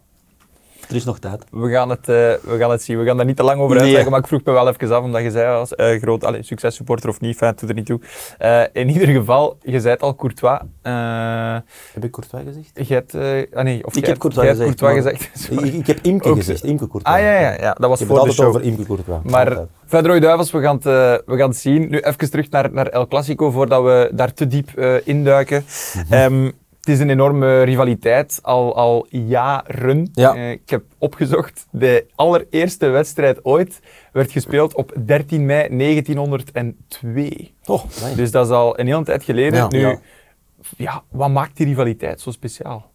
Speaker 3: er is nog tijd.
Speaker 1: We gaan, het, eh, we gaan het zien. We gaan daar niet te lang over
Speaker 3: Nee.
Speaker 1: uitleggen, maar ik vroeg me wel even af, omdat je zei als eh, groot allez, successupporter of niet, fijn, het doet er niet toe. Eh, in ieder geval, je zei het al, Courtois. eh
Speaker 2: Heb ik Courtois gezegd?
Speaker 1: je hebt, eh, ah nee, of jij
Speaker 3: Ik heb
Speaker 1: hebt-
Speaker 3: Courtois
Speaker 1: jij hebt
Speaker 3: gezegd,
Speaker 1: Courtois
Speaker 3: maar-
Speaker 1: gezegd.
Speaker 2: Ik,
Speaker 1: sorry.
Speaker 2: ik heb Imke
Speaker 1: Ook-
Speaker 2: gezegd. Imke Courtois.
Speaker 1: Ah ja, ja, ja, dat was
Speaker 2: Je hebt het
Speaker 1: voor de
Speaker 2: altijd
Speaker 1: show.
Speaker 2: over Imke Courtois.
Speaker 1: Maar
Speaker 2: Altijd.
Speaker 1: van Rode Duivels, we gaan, het, eh, we gaan het zien. Nu even terug naar, naar El Clasico, voordat we daar te diep eh, induiken.
Speaker 2: Mhm.
Speaker 1: Ehm, het is een enorme rivaliteit, al, al jaren.
Speaker 2: Ja.
Speaker 1: Eh, ik heb opgezocht, de allereerste wedstrijd ooit werd gespeeld op 13 mei 1902.
Speaker 2: Toch? amai.
Speaker 1: Dus dat is al een hele tijd geleden.
Speaker 2: Ja.
Speaker 1: nu, ja.
Speaker 2: Ja.
Speaker 1: wat maakt die rivaliteit zo speciaal?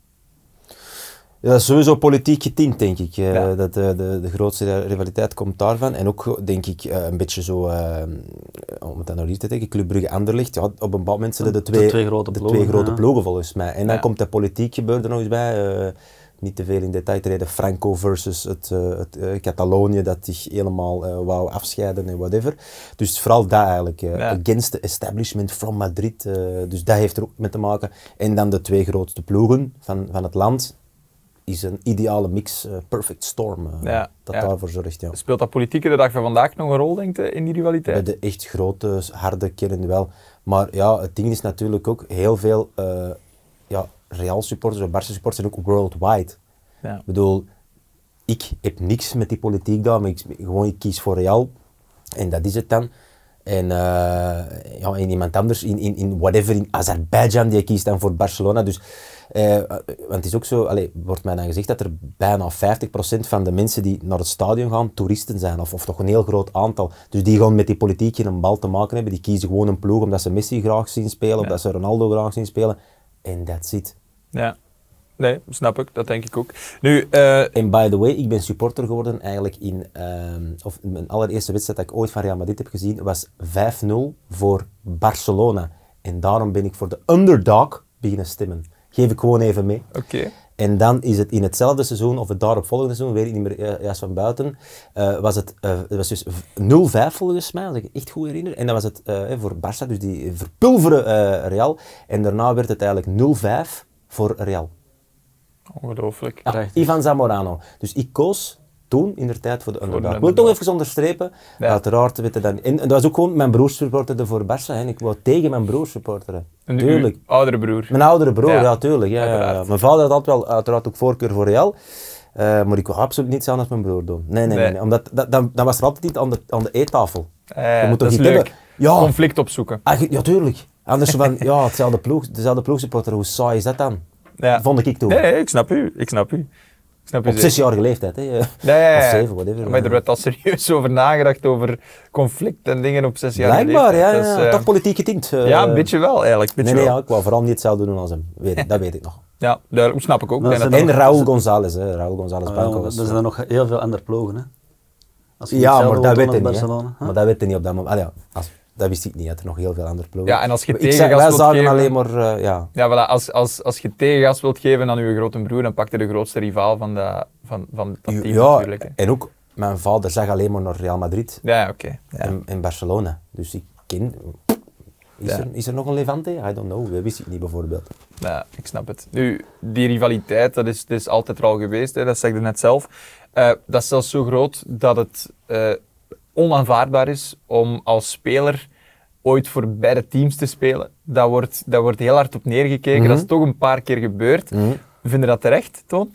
Speaker 2: Ja, dat is sowieso politiek getint, denk ik. Eh,
Speaker 1: Ja.
Speaker 2: dat de, de, de grootste rivaliteit komt daarvan. En ook, denk ik, eh, een beetje zo, eh, om het dan nog hier te denken, Club Brugge-Anderlicht. Ja, op een bepaald moment zijn de,
Speaker 3: De
Speaker 2: twee,
Speaker 3: twee grote
Speaker 2: de
Speaker 3: ploegen,
Speaker 2: twee grote
Speaker 3: ja.
Speaker 2: ploegen, volgens mij. En dan
Speaker 1: Ja.
Speaker 2: komt dat politiek gebeuren er nog eens bij. eh, niet te veel in detail te reden. Franco versus het, eh, het eh, Catalonië, dat zich helemaal eh, wou afscheiden en whatever. Dus vooral dat eigenlijk. eh,
Speaker 1: Ja.
Speaker 2: Against the establishment from Madrid. eh, dus dat heeft er ook mee te maken. En dan de twee grootste ploegen van, van het land is een ideale mix, eh, perfect storm, eh,
Speaker 1: Ja,
Speaker 2: dat
Speaker 1: ja. Dus,
Speaker 2: daarvoor zorgt. Ja.
Speaker 1: Speelt dat politieke de dag van vandaag nog een rol, denk je, in die
Speaker 2: Bij
Speaker 1: rivaliteit?
Speaker 2: de echt grote, harde kern wel. Maar ja, het ding is natuurlijk ook heel veel eh, ja, Real supporters en Barca supporters zijn ook worldwide.
Speaker 1: Ja.
Speaker 2: Ik bedoel, ik heb niks met die politiek daar, maar ik, gewoon ik kies voor Real. En dat is het dan. En, eh, ja, en iemand anders in, in, in whatever, in Azerbeidzjan, die kiest dan voor Barcelona. Dus, eh, eh, want het is ook zo, allee, wordt mij dan gezegd dat er bijna 50% van de mensen die naar het stadion gaan, toeristen zijn. Of, of toch een heel groot aantal. Dus die gewoon met die politiek in een bal te maken hebben. Die kiezen gewoon een ploeg omdat ze Messi graag zien spelen, of
Speaker 1: Ja.
Speaker 2: dat ze Ronaldo graag zien spelen. En that's it.
Speaker 1: Ja. Nee, snap ik. Dat denk ik ook. Nu, eh,
Speaker 2: En by the way, ik ben supporter geworden eigenlijk in, ehm, of mijn allereerste wedstrijd dat ik ooit van Real Madrid heb gezien, was 5-0 voor Barcelona. En daarom ben ik voor de underdog beginnen stemmen. Geef ik gewoon even mee.
Speaker 1: Oké.
Speaker 2: En dan is het in hetzelfde seizoen, of het daaropvolgende seizoen, weet ik niet meer eh, juist van buiten, eh, was het, eh, het was dus v- 0-5 volgens mij, als ik het echt goed herinner. En dat was het eh, voor Barça, dus die verpulveren eh, Real. En daarna werd het eigenlijk 0-5 voor Real.
Speaker 1: Ongelooflijk.
Speaker 2: Ja,
Speaker 3: Prachtig.
Speaker 2: Ah, Ivan Zamorano. Dus ik koos toen in de tijd voor de underdog. Ik wil
Speaker 1: underdog.
Speaker 2: toch even onderstrepen.
Speaker 1: Ja.
Speaker 2: Uiteraard weet je dan. En, en dat was ook gewoon mijn broers supporterde voor Barça. Hè. Ik wou tegen mijn broers supporteren.
Speaker 1: Een
Speaker 2: Tuurlijk.
Speaker 1: uw oudere broer.
Speaker 2: Mijn oudere broer,
Speaker 1: Ja.
Speaker 2: ja, tuurlijk. Ja, ja, ja.
Speaker 1: Uiteraard.
Speaker 2: Mijn vader had altijd wel uiteraard ook voorkeur voor Real. Eh, maar ik wou absoluut niets anders met mijn broer doen. Nee, nee, nee.
Speaker 1: Nee.
Speaker 2: nee. Omdat, dat, dan, dan was er altijd iets aan de, aan de eettafel.
Speaker 1: Eh,
Speaker 2: Je moet toch
Speaker 1: dat is
Speaker 2: iets
Speaker 1: leuk.
Speaker 2: hebben? Ja.
Speaker 1: Conflict opzoeken.
Speaker 2: Ah, ge- ja, tuurlijk. Anders zo van, ja, hetzelfde ploeg, dezelfde ploegsupporter. Hoe saai is dat dan?
Speaker 1: Ja.
Speaker 2: Vond ik ik toen.
Speaker 1: Nee, nee, ik snap u. Ik snap u. Ik snap u
Speaker 2: Op
Speaker 1: zeker.
Speaker 2: zesjarige leeftijd, hè.
Speaker 1: Nee, ja, ja,
Speaker 2: Of
Speaker 1: ja.
Speaker 2: zeven, whatever.
Speaker 1: Maar er werd al serieus over nagedacht, over conflict en dingen op zes jaar
Speaker 2: Blijkbaar, ja. ja.
Speaker 1: ja.
Speaker 2: Toch politiek getint. eh.
Speaker 1: ja, een beetje wel eigenlijk. Een
Speaker 2: Nee,
Speaker 1: beetje
Speaker 2: nee,
Speaker 1: wel.
Speaker 2: ja, ik wou vooral niet hetzelfde doen als hem. Weet, dat weet ik nog.
Speaker 1: ja, duidelijk. Snap ik ook.
Speaker 3: Dat
Speaker 1: Ik denk
Speaker 3: is
Speaker 1: dat
Speaker 2: En
Speaker 3: nog-
Speaker 2: Raúl González, hè. Raúl González
Speaker 3: Ah,
Speaker 2: Blanco
Speaker 3: wel,
Speaker 2: was...
Speaker 3: er zijn er nog heel veel andere ploegen, hè. Als je
Speaker 2: ja,
Speaker 3: hetzelfde
Speaker 2: maar dat
Speaker 3: wilt doen
Speaker 2: weet ik
Speaker 3: als
Speaker 2: niet. hè.
Speaker 3: Barcelona, hè.
Speaker 2: Maar dat weet ik niet op dat moment. Allee, ja, als, dat wist ik niet, dat er nog heel veel andere ploegen...
Speaker 1: Ja, en als je
Speaker 2: Ik
Speaker 1: tegen
Speaker 2: zei-
Speaker 1: gas
Speaker 2: Wij
Speaker 1: wilt
Speaker 2: zagen
Speaker 1: geven-
Speaker 2: alleen maar... eh, ja.
Speaker 1: Ja, voilà. als, als, als je tegengas wilt geven aan uw grote broer, dan pak je de grootste rivaal van, de, van, van dat team
Speaker 2: Ja,
Speaker 1: natuurlijk. hè.
Speaker 2: en ook mijn vader zag alleen maar naar Real Madrid
Speaker 1: Ja, oké. Ja.
Speaker 2: en, en Barcelona. Dus ik ken... Is,
Speaker 1: Ja.
Speaker 2: er, is er nog een Levante? I don't know. Dat wist ik niet, bijvoorbeeld.
Speaker 1: Ja, ik snap het. Nu, die rivaliteit, dat is, dat is altijd er al geweest, hè, dat zei ik net zelf. Eh, dat is zelfs zo groot dat het eh, onaanvaardbaar is om als speler ooit voor beide teams te spelen. Daar wordt, daar wordt heel hard op neergekeken. Dat
Speaker 3: Mhm.
Speaker 1: is toch een paar keer gebeurd. Vinden dat terecht, Toon?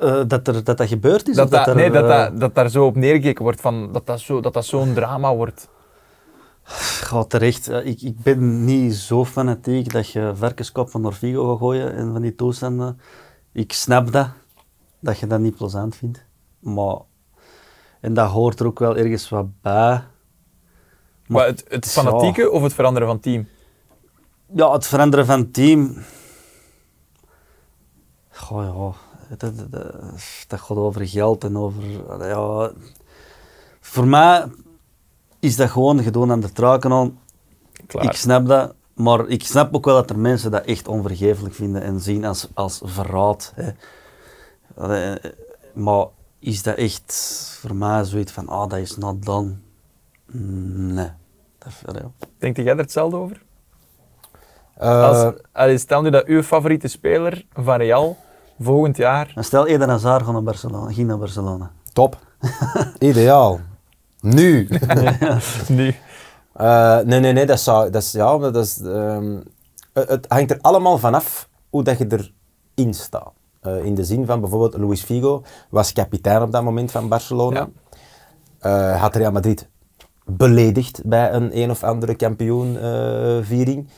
Speaker 3: Eh, dat, er, dat dat gebeurd is?
Speaker 1: Dat,
Speaker 3: of dat,
Speaker 1: dat,
Speaker 3: er,
Speaker 1: nee, dat,
Speaker 3: eh,
Speaker 1: dat, dat daar zo op neergekeken wordt, van, dat dat zo'n dat dat zo'n drama wordt.
Speaker 3: Goh, terecht. Eh, ik, ik ben niet zo fanatiek dat je varkenskop van Norvigo gaat gooien en van die toestanden. Ik snap dat, dat je dat niet plezant vindt. Maar, en dat hoort er ook wel ergens wat bij.
Speaker 1: Maar het, het
Speaker 3: zo.
Speaker 1: fanatieke of het veranderen van team?
Speaker 3: Ja, het veranderen van team. Goh, ja. Dat, dat, dat, dat gaat over geld en over. Ja. Voor mij is dat gewoon gedoe aan de truiken aan.
Speaker 1: Klaar.
Speaker 3: Ik snap dat. Maar ik snap ook wel dat er mensen dat echt onvergeeflijk vinden en zien als, als verraad. Hè. Allee, eh, Maar is dat echt voor mij zoiets van, ah, dat is not done? Nee. Dat, allee, ja.
Speaker 1: Denkt jij er hetzelfde over?
Speaker 2: Eh,
Speaker 1: Als, allee, stel nu dat uw favoriete speler van Real volgend jaar...
Speaker 3: Maar stel Eden Hazard gaat naar Barcelona, ging naar Barcelona.
Speaker 2: Top. Ideaal. Nu.
Speaker 1: Nu.
Speaker 2: Eh, nee, nee, nee, dat, zou, dat is, ja, maar dat is, ehm, het, het hangt er allemaal vanaf hoe dat je erin staat. Eh, in de zin van bijvoorbeeld Luis Figo was kapitein op dat moment van Barcelona.
Speaker 1: Ja.
Speaker 2: Eh, had Real Madrid beledigd bij een een of andere kampioenviering.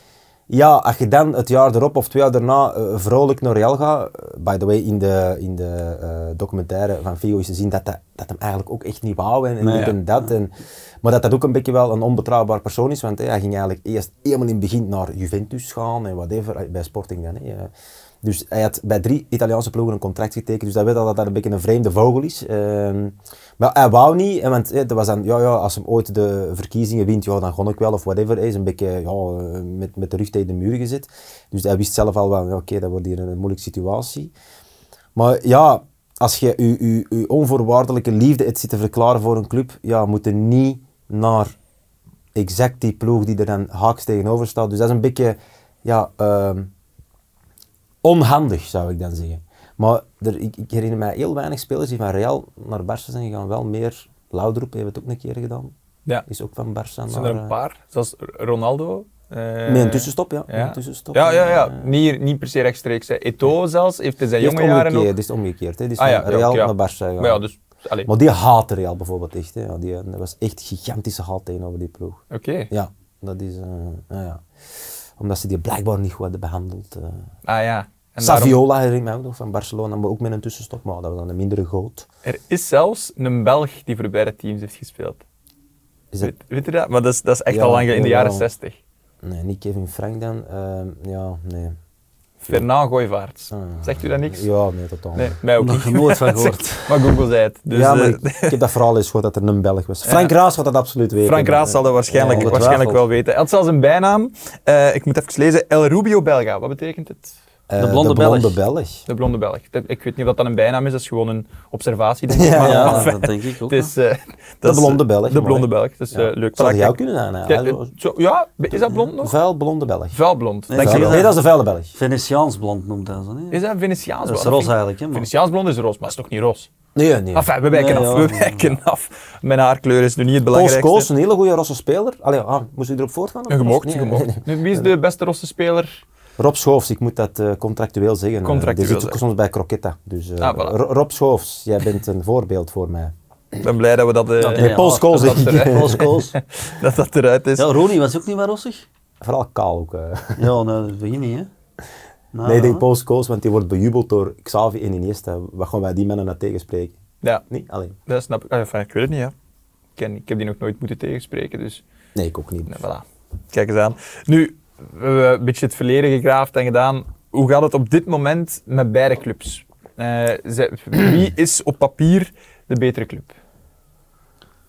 Speaker 2: ja, als je dan het jaar erop of twee jaar daarna eh, vrolijk naar Real gaat... eh, by the way, in de, in de eh, documentaire van Figo is te zien dat, dat, dat hem eigenlijk ook echt niet wou en, en
Speaker 3: Nee,
Speaker 2: dit
Speaker 3: ja.
Speaker 2: en dat. En, maar dat dat ook een beetje wel een onbetrouwbaar persoon is, want hè, hij ging eigenlijk eerst helemaal in het begin naar Juventus gaan en whatever, eh, bij Sporting dan. hè. Eh, Dus hij had bij drie Italiaanse ploegen een contract getekend, dus dat weet al dat dat een beetje een vreemde vogel is. Ehm, maar hij wou niet, hè, want hè, dat was dan, ja, ja, als hem ooit de verkiezingen wint, ja, dan gon ik wel of whatever. Hij is een beetje ja, eh, met, met de rug tegen de muur gezet. Dus hij wist zelf al wel, ja, oké, dat wordt hier een moeilijke situatie. Maar ja, als je je, je, je onvoorwaardelijke liefde het zit te verklaren voor een club, ja, moet je niet naar exact die ploeg die er dan haaks tegenover staat. Dus dat is een beetje ja, ehm, onhandig, zou ik dan zeggen. Maar er, ik, ik herinner mij heel weinig spelers die van Real naar Barça zijn gegaan. Wel meer, Laudrup heeft het ook een keer gedaan.
Speaker 1: Ja.
Speaker 2: Is ook van Barça naar...
Speaker 1: Zijn er een
Speaker 2: eh,
Speaker 1: paar, zoals Ronaldo. eh,
Speaker 2: Met een tussenstop, ja. Met
Speaker 1: Ja,
Speaker 2: een tussenstop,
Speaker 1: ja, ja.
Speaker 2: eh,
Speaker 1: ja.
Speaker 2: eh.
Speaker 1: Niet, niet per se rechtstreeks. hè. Eto'o zelfs heeft in zijn
Speaker 2: Die heeft
Speaker 1: jonge jaren
Speaker 2: omgekeerd,
Speaker 1: nog...
Speaker 2: die is omgekeerd. Hè. Die is
Speaker 1: Ah, ja,
Speaker 2: van
Speaker 1: ja,
Speaker 2: Real
Speaker 1: oké, ja.
Speaker 2: naar Barça gegaan.
Speaker 1: Maar ja, dus... allee,
Speaker 2: Maar die haatte Real bijvoorbeeld echt. Hè. Ja, die, eh, dat was echt gigantische haat tegenover die ploeg.
Speaker 1: Oké.
Speaker 2: Ja, dat is... eh, nou ja. Omdat ze die blijkbaar niet goed hadden behandeld. eh.
Speaker 1: Ah ja. En daarom-
Speaker 2: Saviola herinner ik mij ook nog van Barcelona, maar ook met een tussenstop. Maar dat was dan een mindere goot.
Speaker 1: Er is zelfs een Belg die voor beide teams heeft gespeeld.
Speaker 2: Is dat...
Speaker 1: Weet, weet je dat? Maar dat is, dat is echt
Speaker 2: Ja,
Speaker 1: al lang geleden, in de
Speaker 2: jawel.
Speaker 1: jaren 60.
Speaker 2: Nee, niet Kevin Frank dan. eh, ja, nee.
Speaker 1: Fernand Gooivaarts.
Speaker 2: Ah.
Speaker 1: Zegt u dat niks?
Speaker 2: Ja, nee, totaal
Speaker 1: Nee,
Speaker 2: niet.
Speaker 1: mij ook
Speaker 3: Nog
Speaker 1: niet.
Speaker 3: nooit van
Speaker 1: Dat zegt- Maar Google zei het. Dus,
Speaker 2: ja, maar
Speaker 1: eh,
Speaker 2: ik, ik heb dat vooral eens gehoord dat er een Belg was. Frank Raas gaat dat absoluut weten.
Speaker 1: Frank Raas zal dat waarschijnlijk,
Speaker 2: Ja,
Speaker 1: waarschijnlijk wel
Speaker 3: ongetwijfeld.
Speaker 1: weten. Hij had zelfs een bijnaam. Eh, ik moet even lezen. El Rubio Belga. Wat betekent het?
Speaker 2: Eh,
Speaker 3: De blonde
Speaker 2: de blonde
Speaker 3: Belg.
Speaker 2: Belg.
Speaker 1: De blonde Belg. Dat- Ik weet niet of dat dan een bijnaam is. Dat is gewoon een observatie, denk ik.
Speaker 2: Ja,
Speaker 1: maar,
Speaker 2: Ah, ja,
Speaker 1: maar
Speaker 3: dat denk ik ook.
Speaker 1: het is, eh,
Speaker 2: De
Speaker 1: dat is, eh,
Speaker 2: blonde Belg.
Speaker 1: De
Speaker 2: mooi.
Speaker 1: blonde Belg. Dus
Speaker 2: Ja.
Speaker 1: leuk.
Speaker 2: Zou dat jou
Speaker 1: zaak.
Speaker 2: kunnen aan? hè?
Speaker 1: Ja, eh, zo- ja, is dat blond nog?
Speaker 2: Vuil blonde Belg.
Speaker 1: Vuil blond.
Speaker 3: Nee,
Speaker 1: Dank je
Speaker 2: Vuil-
Speaker 1: wel.
Speaker 2: Nee, dat is de vuile Belg.
Speaker 3: Venetiaans blond noemt dat zo, niet?
Speaker 1: Is dat Venetiaans
Speaker 3: Dat is
Speaker 1: blond?
Speaker 3: roze
Speaker 1: vind-
Speaker 3: eigenlijk, hè, maar-
Speaker 1: Venetiaans blond is roze, maar is toch niet roze?
Speaker 2: Nee, nee.
Speaker 1: Enfin, we wijken
Speaker 3: Nee,
Speaker 1: af,
Speaker 3: ja.
Speaker 1: we wijken af. Mijn haarkleur is nu niet het
Speaker 2: Koos
Speaker 1: belangrijkste.
Speaker 2: Koos, een hele goede Rosse speler. Allee, ah, moest u erop voortgaan? of
Speaker 1: Een gemokt,
Speaker 2: Koos?
Speaker 1: een
Speaker 2: Nee,
Speaker 1: gemokt.
Speaker 2: nee.
Speaker 1: Nu, wie is de beste rosse speler?
Speaker 2: Rob Schoofs, ik moet dat eh, contractueel zeggen. eh,
Speaker 1: Contractueel
Speaker 2: die zit ook
Speaker 1: zeggen.
Speaker 2: soms bij Croquetta. Dus, eh,
Speaker 1: Ah, voilà.
Speaker 2: Ro- Rob Schoofs, jij bent een voorbeeld voor mij.
Speaker 1: Ik ben blij dat we dat, eh,
Speaker 3: Ja,
Speaker 2: Nee,
Speaker 3: nee,
Speaker 2: Paul
Speaker 3: ja,
Speaker 2: Scholes,
Speaker 1: dat
Speaker 2: denk
Speaker 1: dat
Speaker 2: ik.
Speaker 1: eruit-
Speaker 3: Koos, Koos.
Speaker 1: dat dat eruit is.
Speaker 3: Ja, Ronnie was ook niet meer rossig.
Speaker 2: Vooral kaal ook. eh.
Speaker 3: Ja, nou, dat begin niet, hè. Nou,
Speaker 2: nee, ik denk
Speaker 3: ja.
Speaker 2: Paul Schoofs, want die wordt bejubeld door Xavi en Iniesta. Wat gaan wij die mannen nou tegenspreken?
Speaker 1: Ja,
Speaker 2: Nee, alleen.
Speaker 1: dat snap ik. Ah, Enfin, ik weet het niet, ja. Ik, ken, ik heb die nog nooit moeten tegenspreken, dus
Speaker 2: Nee, ik ook niet.
Speaker 1: nou, voilà. Kijk eens aan. Nu, we hebben een beetje het verleden gegraafd en gedaan. Hoe gaat het op dit moment met beide clubs? Eh, ze- wie is op papier de betere club?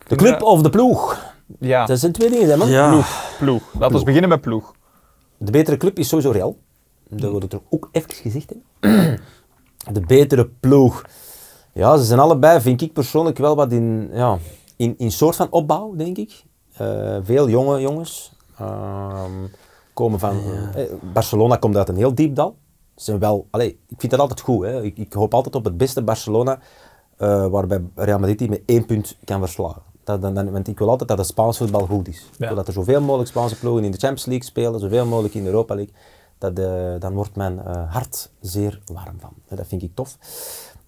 Speaker 2: De club of de ploeg?
Speaker 1: Ja,
Speaker 2: Dat zijn twee dingen, hè, man.
Speaker 3: Ja,
Speaker 1: ploeg. ploeg. Laten we beginnen met ploeg.
Speaker 2: De betere club is sowieso Real. Dat wordt er ook even gezegd. Hè. De betere ploeg. Ja, ze zijn allebei, vind ik persoonlijk, wel wat in, ja, in, in soort van opbouw, denk ik. Eh, veel jonge jongens ehm, komen van... eh, Barcelona komt uit een heel diep dal. Ze Zijn wel, allee, ik vind dat altijd goed. Hè. Ik, ik hoop altijd op het beste Barcelona, eh, waarbij Real Madrid die met één punt kan verslaan. Dat, dan, dan- want ik wil altijd dat het Spaans voetbal goed is. Ik wil dat er zoveel mogelijk Spaanse ploegen in de Champions League spelen, zoveel mogelijk in de Europa League. Dat, eh, dan wordt mijn eh, hart zeer warm van. Eh, Dat vind ik tof.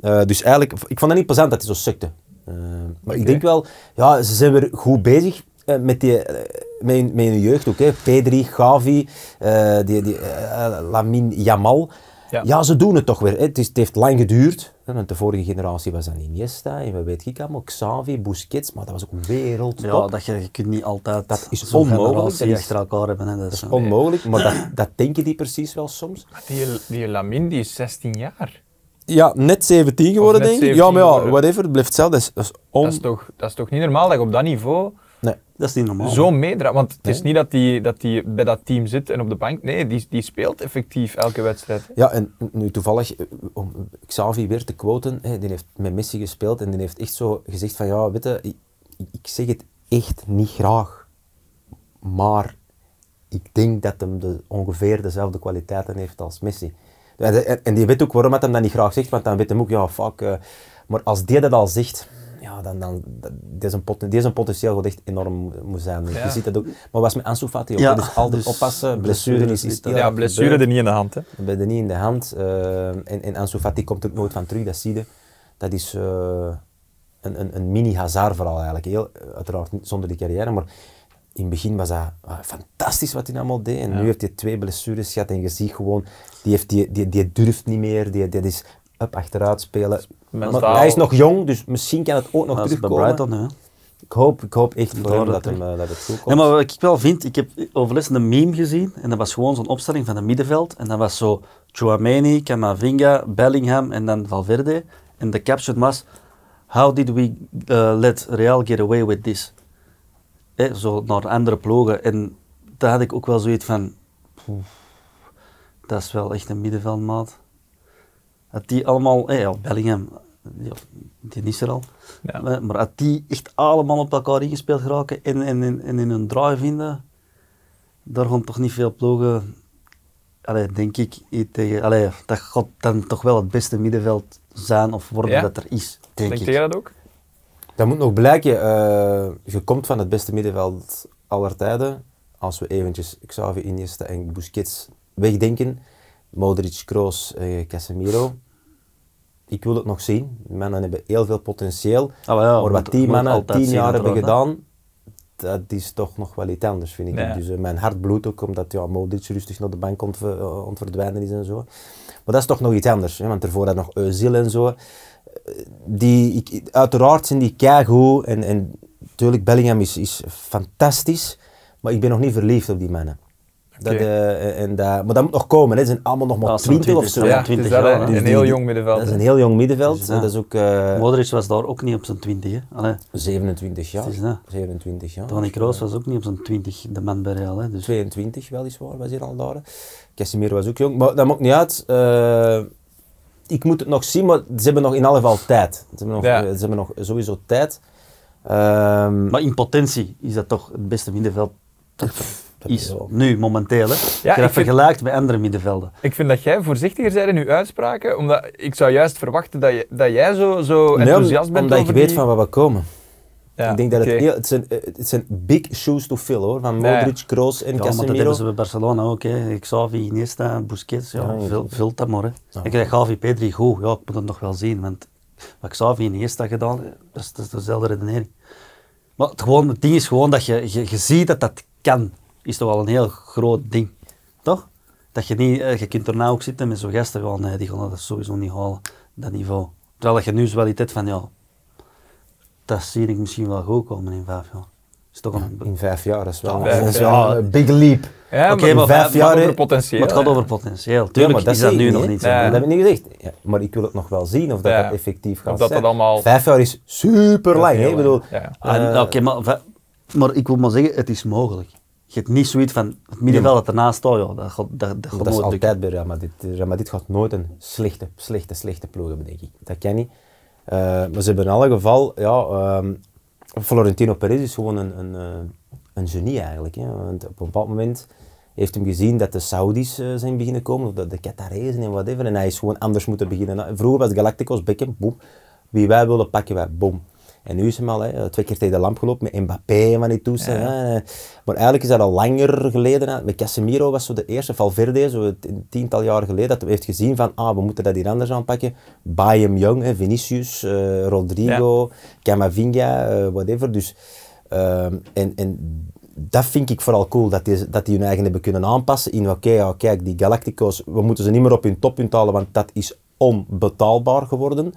Speaker 2: Eh, dus eigenlijk, ik vond dat niet plezant dat hij zo sukte. Eh, maar ik denk wel, ja, ze zijn weer goed bezig eh, met, die, eh, met, hun, met hun jeugd ook. Hè. Pedri, Gavi, eh, die, die, eh, Lamin Jamal.
Speaker 1: Ja.
Speaker 2: Ja. ze doen het toch weer. hè. Het, is, het heeft lang geduurd. hè, Want de vorige generatie was dan Iniesta en wat weet ik allemaal. Xavi, Busquets, maar dat was ook een wereldtop.
Speaker 3: Ja, dat je, je kunt niet altijd
Speaker 2: Dat is
Speaker 3: zo'n
Speaker 2: onmogelijk,
Speaker 3: generatie
Speaker 2: dat is-
Speaker 3: achter elkaar hebben. Hè. Dat is,
Speaker 2: Onmogelijk, maar dat, dat denken die precies wel soms.
Speaker 1: Die, die Lamin die is 16 jaar.
Speaker 2: Ja, net 17 geworden,
Speaker 1: net
Speaker 2: denk ik.
Speaker 1: 17
Speaker 2: Ja, maar ja,
Speaker 1: geworden.
Speaker 2: whatever, het blijft hetzelfde. Dat is, dat is on-
Speaker 1: Dat, is toch, dat is toch niet normaal dat je op dat niveau
Speaker 2: Nee.
Speaker 3: dat is niet normaal.
Speaker 1: zo meedraait. Want het is niet dat die, dat die bij dat team zit en op de bank. Nee, die, die speelt effectief elke wedstrijd.
Speaker 2: Ja, en nu toevallig, eh, om Xavi weer te quoten, hè, die heeft met Messi gespeeld en die heeft echt zo gezegd van, ja, weet je, ik, ik zeg het echt niet graag, maar ik denk dat hem de, ongeveer dezelfde kwaliteiten heeft als Messi. En, en- en die weet ook waarom dat hem dat niet graag zegt, want dan weet hem ook, ja, fuck. eh, maar als die dat al zegt, ja, dan, dan dat, die is een pot, die is een potentieel wat echt enorm moet zijn.
Speaker 1: Ja.
Speaker 2: Je ziet dat ook. Maar was met Ansu Fati ook,
Speaker 3: Ja,
Speaker 2: hè, dus altijd
Speaker 3: dus
Speaker 2: oppassen, blessure
Speaker 3: blessure
Speaker 2: is,
Speaker 3: is
Speaker 2: is
Speaker 3: niet-
Speaker 1: Ja, blessure er niet in de hand. Hè.
Speaker 2: we hebben er niet in de hand. eh, en, en Ansu Fati komt er ook nooit van terug, dat zie je. Dat is eh, een, een, een mini-hazard vooral eigenlijk. Heel, eh, uiteraard niet zonder die carrière, maar in het begin was dat ah, fantastisch wat hij allemaal deed. En nu heeft hij twee blessures gehad en je ziet gewoon, die, heeft, die, die, die durft niet meer. Die, die is up achteruit spelen. Maar
Speaker 1: mentaal-
Speaker 2: hij is nog jong, dus misschien kan het ook nog
Speaker 3: dat is bij
Speaker 2: terugkomen.
Speaker 3: Brighton. Hè.
Speaker 2: Ik hoop, ik hoop echt voor
Speaker 3: Daar
Speaker 2: hem
Speaker 3: dat
Speaker 2: dat, hem,
Speaker 3: terug.
Speaker 2: eh, dat het goed
Speaker 3: Ja,
Speaker 2: komt.
Speaker 3: maar wat ik wel vind, ik heb overlessen een meme gezien en dat was gewoon zo'n opstelling van het middenveld. En dat was zo Chouameni, Camavinga, Bellingham en dan Valverde. En de caption was, how did we eh, let Real get away with this? Hè, zo naar andere ploegen. En daar had ik ook wel zoiets van, "Oef, dat is wel echt een middenveldmaat. Dat die allemaal, hè, ja, Bellingham, ja, die is er al.
Speaker 1: Ja.
Speaker 3: Maar maar dat die echt allemaal op elkaar ingespeeld geraken en, en, en, en in hun draai vinden, daar gaan toch niet veel ploegen, allee, denk ik, iets tegen. Allee, dat gaat dan toch wel het beste middenveld zijn of worden
Speaker 1: Ja?
Speaker 3: dat er is, denk
Speaker 1: Denk
Speaker 3: ik.
Speaker 1: jij dat ook?
Speaker 2: Dat moet nog blijken. eh, je komt van het beste middenveld aller tijden. Als we eventjes Xavi, Iniesta en Busquets wegdenken. Modric, Kroos, eh, Casemiro. Ik wil het nog zien. Die mannen hebben heel veel potentieel.
Speaker 3: Ah, maar ja,
Speaker 2: maar
Speaker 3: moet-
Speaker 2: wat die
Speaker 3: moet
Speaker 2: mannen al
Speaker 3: altijd
Speaker 2: tien
Speaker 3: zien,
Speaker 2: jaar hebben
Speaker 3: uiteraard,
Speaker 2: gedaan, dat is toch nog wel iets anders, vind ik.
Speaker 1: Ja.
Speaker 2: Dus eh, mijn hart bloedt ook, omdat ja, Modric rustig naar de bank ont- eh, ontverdwijnen is en zo. Maar dat is toch nog iets anders, hè? want ervoor had nog Özil en zo. Eh, Die, ik, uiteraard zijn die keigoed en, en natuurlijk Bellingham is, is fantastisch, maar ik ben nog niet verliefd op die mannen. Dat,
Speaker 1: Oké.
Speaker 2: eh, en dat, maar dat moet nog komen, hè. ze zijn allemaal nog maar
Speaker 3: Ja, ze zijn
Speaker 2: 20 of zo.
Speaker 3: twintig,
Speaker 1: Ja,
Speaker 2: hè.
Speaker 1: het is dat,
Speaker 3: 20 jaar,
Speaker 1: hè.
Speaker 3: hè.
Speaker 1: een
Speaker 2: Dus
Speaker 1: heel
Speaker 2: die-
Speaker 1: jong middenveld.
Speaker 2: Dat is een heel jong middenveld.
Speaker 3: Dus,
Speaker 2: hè. dat is ook, eh,
Speaker 3: Modric was daar ook niet op zijn 20, hè. Allee,
Speaker 2: 27 jaar.
Speaker 3: Het is dat.
Speaker 2: 27 jaar.
Speaker 3: Tony Kroos was ook niet op zijn 20, de man bij Real, hè. Dus
Speaker 2: 22 weliswaar, was hij al daar. Casemiro was ook jong, maar dat maakt niet uit. Eh, ik moet het nog zien, maar ze hebben nog in alle geval tijd. Ze hebben nog,
Speaker 1: Ja.
Speaker 2: eh, ze hebben nog sowieso tijd. Ehm,
Speaker 3: Maar in potentie is dat toch het beste middenveld dat er
Speaker 2: dat
Speaker 3: is.
Speaker 2: wel.
Speaker 3: Nu, momenteel. Hè.
Speaker 1: ik
Speaker 3: Ja,
Speaker 1: vind-
Speaker 3: dat vergelijkt met andere middenvelden.
Speaker 1: Ik vind dat jij voorzichtiger bent in je uitspraken, omdat ik zou juist verwachten dat, je, dat jij zo, zo
Speaker 2: nee, om-
Speaker 1: enthousiast bent
Speaker 2: Omdat
Speaker 1: over
Speaker 2: ik weet
Speaker 1: die-
Speaker 2: van waar we komen.
Speaker 1: Ja,
Speaker 2: ik denk dat
Speaker 1: oké.
Speaker 2: het, heel, het, zijn, eh, het zijn big shoes to fill hoor. Van
Speaker 1: Ja.
Speaker 2: Modric, Kroos en
Speaker 3: Ja, maar dat
Speaker 2: Casemiro.
Speaker 3: hebben ze bij Barcelona ook. Hè. Xavi, Iniesta, Busquets. Ja,
Speaker 2: Ja,
Speaker 3: vul, vult dat maar. Hè.
Speaker 2: Ja.
Speaker 3: Ik krijg Gavi, Pedri, goed. Ja, ik moet dat nog wel zien. Want wat Xavi en Iniesta gedaan, hè, dat is, dat is dezelfde redenering. Maar het, gewoon, het ding is gewoon dat je, je, je ziet dat dat kan. Is toch wel een heel groot ding. Toch? Dat je niet, eh, je kunt daarna ook zitten met zo'n gasten. Ja, nee, die gaan dat sowieso niet halen. Dat niveau. Terwijl je nu zo wel iets hebt van, ja, dat zie ik misschien wel goed komen in vijf jaar. Is toch een,
Speaker 2: In vijf jaar, dat is wel,
Speaker 1: vijf
Speaker 2: dat is
Speaker 1: jaar.
Speaker 2: wel een big leap.
Speaker 1: Ja,
Speaker 3: Oké,
Speaker 1: maar,
Speaker 2: maar
Speaker 1: vijf
Speaker 2: vijf
Speaker 1: jaar
Speaker 2: jaar,
Speaker 1: over
Speaker 2: hè.
Speaker 1: potentieel.
Speaker 3: Maar het gaat
Speaker 1: hè.
Speaker 3: over potentieel. Tuurlijk
Speaker 2: maar dat
Speaker 3: is dat
Speaker 2: zei
Speaker 3: nu
Speaker 2: ik
Speaker 3: nog
Speaker 2: niet,
Speaker 3: niet zo.
Speaker 2: hè.
Speaker 1: Ja.
Speaker 2: Dat heb ik niet gezegd. Ja, maar ik wil het nog wel zien of dat,
Speaker 1: Ja.
Speaker 2: dat effectief gaat
Speaker 1: Of dat
Speaker 2: zijn.
Speaker 1: dat allemaal-
Speaker 2: Vijf jaar is super lang.
Speaker 1: heel
Speaker 2: Ik bedoel,
Speaker 1: lang, ja.
Speaker 2: eh,
Speaker 3: Ah, Oké, maar, va- maar ik wil maar zeggen, het is mogelijk. Je hebt niet zoiets van, het middenveld dat ernaast staat, joh, dat gaat, dat, dat gaat
Speaker 2: dat is
Speaker 3: nooit lukken.
Speaker 2: altijd bij Real Madrid. Real Madrid gaat nooit een slechte, slechte, slechte ploeg hebben, denk ik. Dat kan niet. Eh, maar ze hebben in alle geval, ja, ehm, Florentino Perez is gewoon een, een, eh, een genie eigenlijk. Hè. Want op een bepaald moment heeft hem gezien dat de Saudis eh, zijn beginnen komen, of de, de Qatarezen en whatever. Nou, En hij is gewoon anders moeten beginnen. Vroeger was Galacticos, Beckham, boem. Wie wij willen pakken wij, boom. En nu is hem al hè, twee keer tegen de lamp gelopen met Mbappé en van die toestanden. hè. Maar eigenlijk is dat al langer geleden. hè. Met Casemiro was zo de eerste, Valverde, zo het- een tiental jaar geleden, dat hij heeft gezien van ah, we moeten dat hier anders aanpakken. Buy him young, hè, Vinicius, eh, Rodrigo, Camavinga, eh, whatever. Dus, ehm, en, en dat vind ik vooral cool, dat die, dat die hun eigen hebben kunnen aanpassen in oké, ja, kijk, die Galactico's, we moeten ze niet meer op hun toppunt halen, want dat is onbetaalbaar geworden.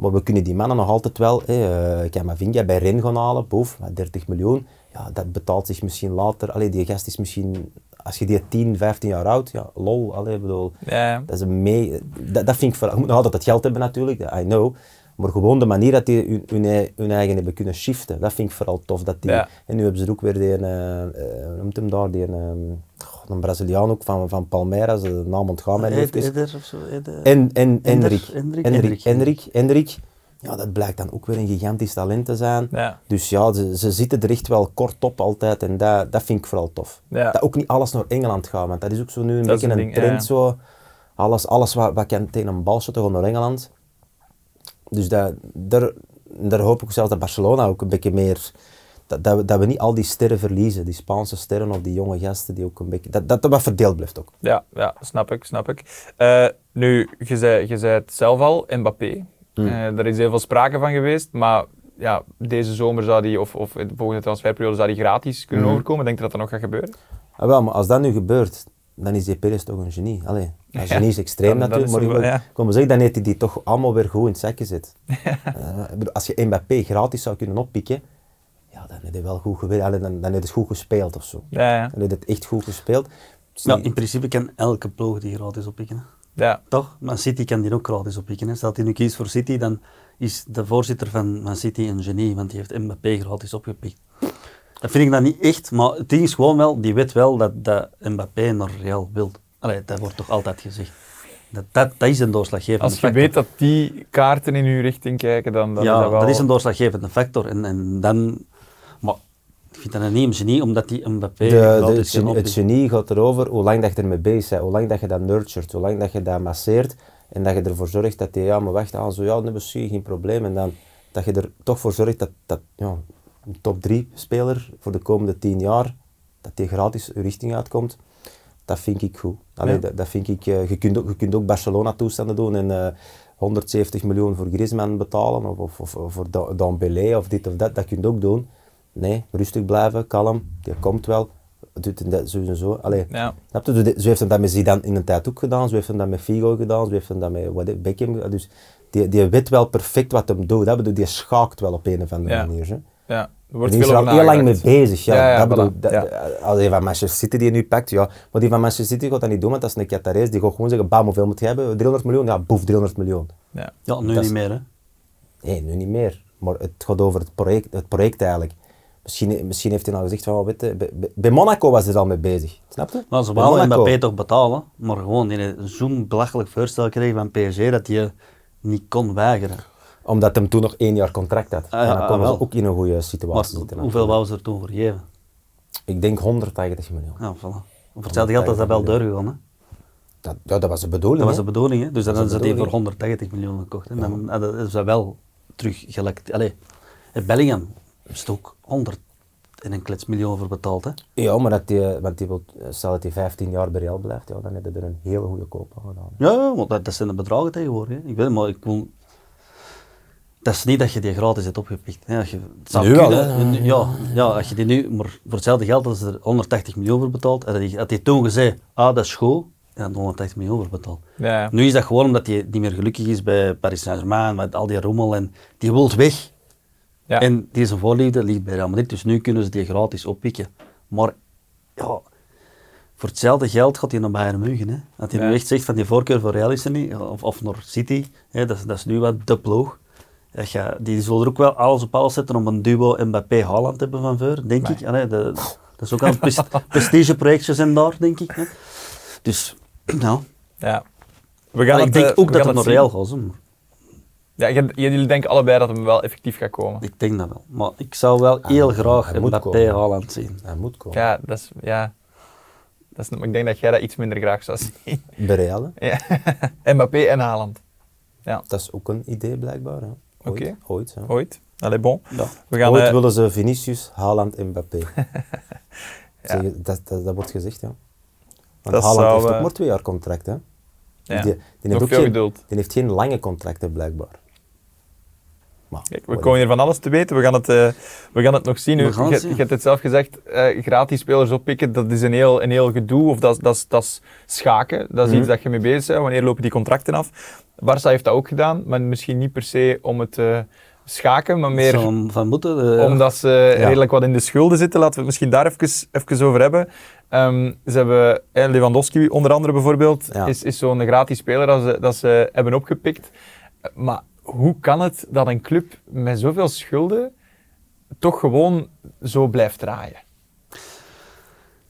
Speaker 2: Maar we kunnen die mannen nog altijd wel, hey, Camavinga bij Ren gaan halen, boef, maar 30 miljoen, ja, dat betaalt zich misschien later. Allee, die gast is misschien, als je die 10, 15 jaar oud, ja, lol, allee, ik bedoel,
Speaker 1: Ja.
Speaker 2: dat is een mee, dat, dat vind ik vooral, je moet nog altijd dat geld hebben natuurlijk, I know, maar gewoon de manier dat die hun, hun, ei- hun eigen hebben kunnen shiften, dat vind ik vooral tof. Dat die,
Speaker 1: Ja.
Speaker 2: En nu hebben ze er ook weer die, eh, eh, hoe noemt hem daar, die, eh, goh, een Braziliaan ook van, van Palmeiras, eh, de naam ontgaan mij nu
Speaker 3: Ed-
Speaker 2: even.
Speaker 3: Eder of zo. Eder.
Speaker 2: En, en
Speaker 3: Ender,
Speaker 2: Enrik.
Speaker 3: Enrik,
Speaker 2: Enrik.
Speaker 3: Enrik.
Speaker 2: Enrik. Enrik. Ja, dat blijkt dan ook weer een gigantisch talent te zijn.
Speaker 1: Ja.
Speaker 2: Dus ja, ze, ze zitten er echt wel kort op altijd en dat, dat vind ik vooral tof.
Speaker 1: Ja.
Speaker 2: Dat ook niet alles naar Engeland gaat, want dat is ook zo nu een
Speaker 1: Dat is
Speaker 2: beetje
Speaker 1: een
Speaker 2: een,
Speaker 1: ding,
Speaker 2: trend.
Speaker 1: ja.
Speaker 2: Zo. Alles, alles wat, wat kan tegen een bal shotten, gaat naar Engeland. Dus dat, daar, daar hoop ik zelfs dat Barcelona ook een beetje meer... Dat, dat, we, dat we niet al die sterren verliezen, die Spaanse sterren of die jonge gasten die ook een beetje... Dat dat, dat wat verdeeld blijft ook.
Speaker 1: Ja, ja, snap ik, snap ik. Eh, nu, je zei, je zei het zelf al, Mbappé. Eh, daar is heel veel sprake van geweest, maar ja, deze zomer zou die, of, of in de volgende transferperiode, zou die gratis kunnen overkomen. Denk je dat dat nog gaat gebeuren?
Speaker 2: Ah, wel, maar als dat nu gebeurt, dan is die Perez toch een genie. Allee, een genie is extreem
Speaker 1: dat- dat is
Speaker 2: natuurlijk, maar
Speaker 1: toch
Speaker 2: ik
Speaker 1: wel,
Speaker 2: wil-
Speaker 1: ja.
Speaker 2: kom maar zeggen, dan heeft hij die toch allemaal weer goed in het zakje zit. Eh, ik bedoel, als je Mbappé gratis zou kunnen oppikken, ja, dan heb je wel goed gewerkt. Allee, dan, dan heb je goed gespeeld of zo.
Speaker 1: Ja, ja.
Speaker 2: Dan heb je het echt goed gespeeld. Het is
Speaker 3: Nou,
Speaker 2: niet-
Speaker 3: in principe kan elke ploeg die gratis oppikken. hè.
Speaker 1: ja.
Speaker 3: Toch? Man City kan die ook gratis oppikken. Hè. Stel hij nu kiest voor City, dan is de voorzitter van Man City een genie, want die heeft Mbappé gratis opgepikt. Dat vind ik dan niet echt, maar het ding is gewoon wel, die weet wel dat, dat Mbappé naar Real wil. Allee, dat wordt toch altijd gezegd. Dat, dat, dat is een doorslaggevende
Speaker 1: Als je
Speaker 3: factor.
Speaker 1: weet dat die kaarten in uw richting kijken, dan, dan
Speaker 3: ja,
Speaker 1: is dat wel...
Speaker 3: is een doorslaggevende factor. En, en dan, maar ik vind dat niet een genie, omdat die Mbappé
Speaker 2: de, de,
Speaker 3: gratis
Speaker 2: het,
Speaker 3: kan
Speaker 2: genie, het
Speaker 3: oppikken.
Speaker 2: genie gaat erover hoe lang dat je ermee bezig bent, hoe lang dat je dat nurtured, hoe lang dat je dat masseert en dat je ervoor zorgt dat die, ja, maar wacht, aan zo, ja, nu misschien geen probleem. En dan dat je er toch voor zorgt dat, dat ja, een top 3 speler voor de komende 10 jaar, dat die gratis uw richting uitkomt. Dat vind ik goed. Allee, dat, dat vind ik, eh, je, kunt ook, je kunt ook Barcelona toestanden doen en eh, 170 miljoen voor Griezmann betalen of, of, of, of voor Da- Dembélé of dit of dat. Dat kun je ook doen. Nee, rustig blijven, kalm. Die komt wel. Doet hem dat zo en zo. Allee,
Speaker 1: Ja.
Speaker 2: snap je? Zo de- Zo heeft hij dat met Zidane in een tijd ook gedaan. Zo heeft hij dat met Figo gedaan. Zo heeft hij dat met what- Beckham gedaan. Dus die, die weet wel perfect wat hem doet. Dat bedoel, die schaakt wel op een of andere
Speaker 1: Ja.
Speaker 2: manier. Hè?
Speaker 1: Ja, er
Speaker 2: Daar
Speaker 1: wordt
Speaker 2: is
Speaker 1: veel
Speaker 2: er al
Speaker 1: over
Speaker 2: heel lang mee
Speaker 1: nagedacht.
Speaker 2: bezig. Ja.
Speaker 1: Ja, ja,
Speaker 2: dat bedoel,
Speaker 1: voilà.
Speaker 2: dat,
Speaker 1: Ja.
Speaker 2: Als die van Manchester City die je nu pakt, ja. Maar die van Manchester City gaat dat niet doen, want dat is een Qatarees. Die gaat gewoon zeggen, bam, hoeveel moet je hebben? 300 miljoen? Ja, boef, 300 miljoen.
Speaker 1: Ja.
Speaker 3: Ja, nu
Speaker 2: dat is-
Speaker 3: niet meer. Hè.
Speaker 2: Nee, nu niet meer. Maar het gaat over het project, het project eigenlijk. Misschien, misschien heeft hij nou gezegd van, oh, weet je, bij- bij- bij Monaco was hij er al mee bezig. Snap je?
Speaker 3: Maar ze
Speaker 2: Bij
Speaker 3: wouden
Speaker 2: Monaco.
Speaker 3: Mbappé toch betalen, maar gewoon die zo'n belachelijk voorstel kreeg van PSG dat hij niet kon weigeren.
Speaker 2: Omdat hij toen nog één jaar contract had.
Speaker 3: Ah, ja,
Speaker 2: en dan
Speaker 3: ah,
Speaker 2: komen ze
Speaker 3: wel.
Speaker 2: ook in een goede
Speaker 3: Maar
Speaker 2: situatie zitten.
Speaker 3: hoeveel wou ze er toen voor geven?
Speaker 2: Ik denk 180 miljoen.
Speaker 3: Ja, voilà. Voor hetzelfde geld is dat wel doorgegaan. Hè?
Speaker 2: Dat, ja, dat was de bedoeling.
Speaker 3: Dat was
Speaker 2: hè?
Speaker 3: de bedoeling. Hè? Dus dan
Speaker 2: Dat
Speaker 3: hadden
Speaker 2: is de
Speaker 3: ze die voor
Speaker 2: bedoeling.
Speaker 3: 180 miljoen gekocht. Hè? Dan hadden ze dat wel terug gelekt. Allee, het Bellingham is het ook 100 en een klets miljoen voor betaald. Hè?
Speaker 2: Ja, maar dat die, want die wil, stel dat hij 15 jaar bij Real blijft, ja, dan heb je er een hele goede koop aan gedaan.
Speaker 3: Ja, Ja, want dat, dat zijn de bedragen tegenwoordig. Hè? Ik weet het, maar ik wil... Dat is niet dat je die gratis hebt opgepikt. Hè? Als je, het zou
Speaker 2: Nu wel,
Speaker 3: kunnen-
Speaker 2: hè?
Speaker 3: nu- Ja, ja, als je die nu... Maar voor hetzelfde geld als er 180 miljoen voor betaald. Had hij, had hij toen gezegd, ah, dat is goed. En had 180 miljoen voor betaald.
Speaker 1: Ja, ja.
Speaker 3: Nu is dat gewoon omdat hij niet meer gelukkig is bij Paris Saint-Germain, met al die rommel. En die wil weg.
Speaker 1: Ja.
Speaker 3: En die zijn voorliefde ligt bij Real Madrid, dus nu kunnen ze die gratis oppikken. Maar ja, voor hetzelfde geld gaat hij naar Bayern München. Hè. Dat hij
Speaker 1: Ja.
Speaker 3: nu echt zegt van die voorkeur voor Real is er niet, of, of naar City, hè, dat, is, dat is nu wat de ploeg. Dat je- die zullen er ook wel alles op alles zetten om een duo mbappé haaland te hebben van voor, denk ik. Allee, de- dat is ook al een pres- prestigeprojectje zijn daar, denk ik. Hè. Dus, nou,
Speaker 1: Ja. We gaan
Speaker 3: ik
Speaker 1: het,
Speaker 3: denk
Speaker 1: eh,
Speaker 3: ook
Speaker 1: we
Speaker 3: dat
Speaker 1: gaan
Speaker 3: het naar
Speaker 1: zien.
Speaker 3: Real gaat. hè, maar
Speaker 1: Ja, j- jullie denken allebei dat hem wel effectief gaat komen.
Speaker 3: Ik denk dat wel. Maar ik zou wel
Speaker 1: Ah,
Speaker 3: heel graag
Speaker 2: hij moet
Speaker 3: Mbappé
Speaker 2: komen.
Speaker 3: haaland zien.
Speaker 2: Hij moet komen.
Speaker 1: Ja, dat is... Ja. Dat is maar ik denk dat jij dat iets minder graag zou zien.
Speaker 2: Bij Real, hè.
Speaker 1: Ja. Mbappé en Haaland. Ja,
Speaker 2: dat is ook een idee blijkbaar. hè. Ooit,
Speaker 1: Oké.
Speaker 2: ooit hè.
Speaker 1: ooit. Allee, bon.
Speaker 3: Ja.
Speaker 1: We gaan,
Speaker 2: Ooit
Speaker 1: eh,
Speaker 2: willen ze Vinicius, Haaland en Mbappé.
Speaker 1: Ja.
Speaker 2: Zeg, dat, dat, dat wordt gezegd, ja. Want
Speaker 1: Dat
Speaker 2: Haaland
Speaker 1: zou,
Speaker 2: heeft
Speaker 1: eh,
Speaker 2: ook maar twee jaar contract, hè.
Speaker 1: ja.
Speaker 2: Die, die heeft
Speaker 1: Nog
Speaker 2: ook
Speaker 1: veel
Speaker 2: geen-
Speaker 1: geduld.
Speaker 2: die heeft geen lange contracten, blijkbaar. Maar,
Speaker 1: Kijk, we
Speaker 2: whatever.
Speaker 1: komen hier van alles te weten. We gaan het, eh, we gaan het nog zien.
Speaker 3: We
Speaker 1: U-
Speaker 3: gaan het
Speaker 1: je-
Speaker 3: zien.
Speaker 1: Je hebt het zelf gezegd, eh, gratis spelers oppikken, dat is een heel, een heel gedoe. Of dat, is- dat, is- dat is schaken. Dat is
Speaker 3: Mhm.
Speaker 1: iets dat je mee bezig bent. Wanneer lopen die contracten af? Barça heeft dat ook gedaan, maar misschien niet per se om het eh, schaken, maar meer
Speaker 3: Van, van moeten. eh,
Speaker 1: omdat ze
Speaker 2: Ja.
Speaker 1: redelijk wat in de schulden zitten. Laten we het misschien daar even, even over hebben. Ehm, ze hebben eh, Lewandowski onder andere bijvoorbeeld,
Speaker 2: Ja.
Speaker 1: is, is zo'n gratis speler dat ze, dat ze hebben opgepikt. Maar hoe kan het dat een club met zoveel schulden toch gewoon zo blijft draaien?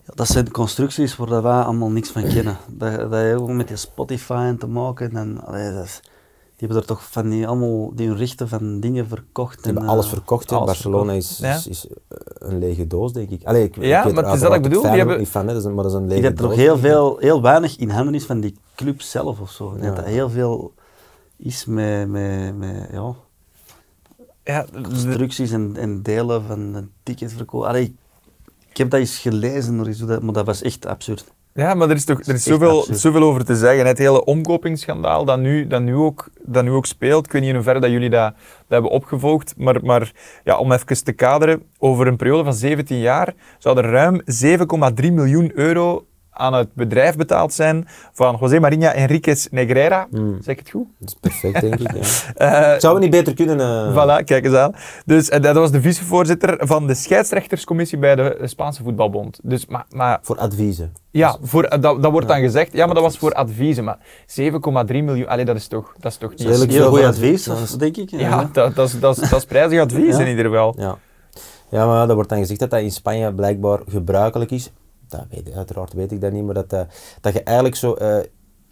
Speaker 3: Ja, Dat zijn constructies waar dat wij allemaal niks van kennen. Dat, dat heeft ook met die Spotify en te maken. En, allee, dat is- die hebben er toch van die allemaal die hun rechten van dingen verkocht.
Speaker 2: Ze hebben
Speaker 3: en,
Speaker 2: alles
Speaker 3: eh,
Speaker 2: verkocht. hè.
Speaker 3: alles
Speaker 2: Barcelona
Speaker 3: verkocht.
Speaker 2: is,
Speaker 1: Ja.
Speaker 2: is, is, eh, een lege doos, denk ik. Allee, ik,
Speaker 1: Ja, maar het is dat
Speaker 2: uiteraard
Speaker 1: ik bedoel,
Speaker 2: fan
Speaker 1: die
Speaker 2: ook
Speaker 1: hebben-
Speaker 2: niet van, hè, dat is een- maar dat is een
Speaker 3: Ik
Speaker 2: lege
Speaker 3: denk dat
Speaker 2: doos.
Speaker 3: er nog heel,
Speaker 2: denk ik.
Speaker 3: veel, heel weinig in handen is van die club zelf of zo. Ik denk
Speaker 2: Ja.
Speaker 3: dat er heel veel is met, met, met ja,
Speaker 1: Ja,
Speaker 3: constructies en, en delen van de ticketverkoop. Allee, ik, ik heb dat eens gelezen, maar is dat- maar dat was echt absurd.
Speaker 1: Ja, maar er is, toch, er is
Speaker 3: is echt
Speaker 1: zoveel,
Speaker 3: absurd.
Speaker 1: zoveel over te zeggen. Het hele omkopingsschandaal dat nu, dat, nu ook, dat nu ook speelt. Ik weet niet in hoeverre dat jullie dat, dat hebben opgevolgd. Maar, maar ja, om even te kaderen, over een periode van 17 jaar zou er ruim 7,3 miljoen euro aan het bedrijf betaald zijn van José Marinha Enriquez Negreira. Zeg ik het goed?
Speaker 2: Dat is perfect, denk ik. Ja.
Speaker 1: Eh,
Speaker 2: Zou het niet beter kunnen? eh,
Speaker 1: Voilà, kijk eens aan. Dus eh, dat was de vicevoorzitter van de scheidsrechterscommissie bij de eh, Spaanse voetbalbond. Dus, maar, maar
Speaker 2: Voor adviezen.
Speaker 1: ja,
Speaker 2: Dus-
Speaker 1: voor, eh, dat, dat wordt dan gezegd. Ja, maar dat was voor adviezen. Maar 7,3 miljoen, allee, dat is toch, dat is toch niet...
Speaker 2: Dat is
Speaker 3: Dat
Speaker 2: Redelijk
Speaker 3: is heel
Speaker 2: veel
Speaker 3: goed
Speaker 2: van-
Speaker 3: advies,
Speaker 2: dat is-
Speaker 3: denk ik.
Speaker 1: Ja, dat, dat, is, dat, is, dat is prijzig advies
Speaker 3: Ja.
Speaker 1: in ieder geval.
Speaker 2: Ja. ja, maar dat wordt dan gezegd dat dat in Spanje blijkbaar gebruikelijk is. Dat weet ik, uiteraard weet ik dat niet, maar dat, eh, dat je eigenlijk zo... eh,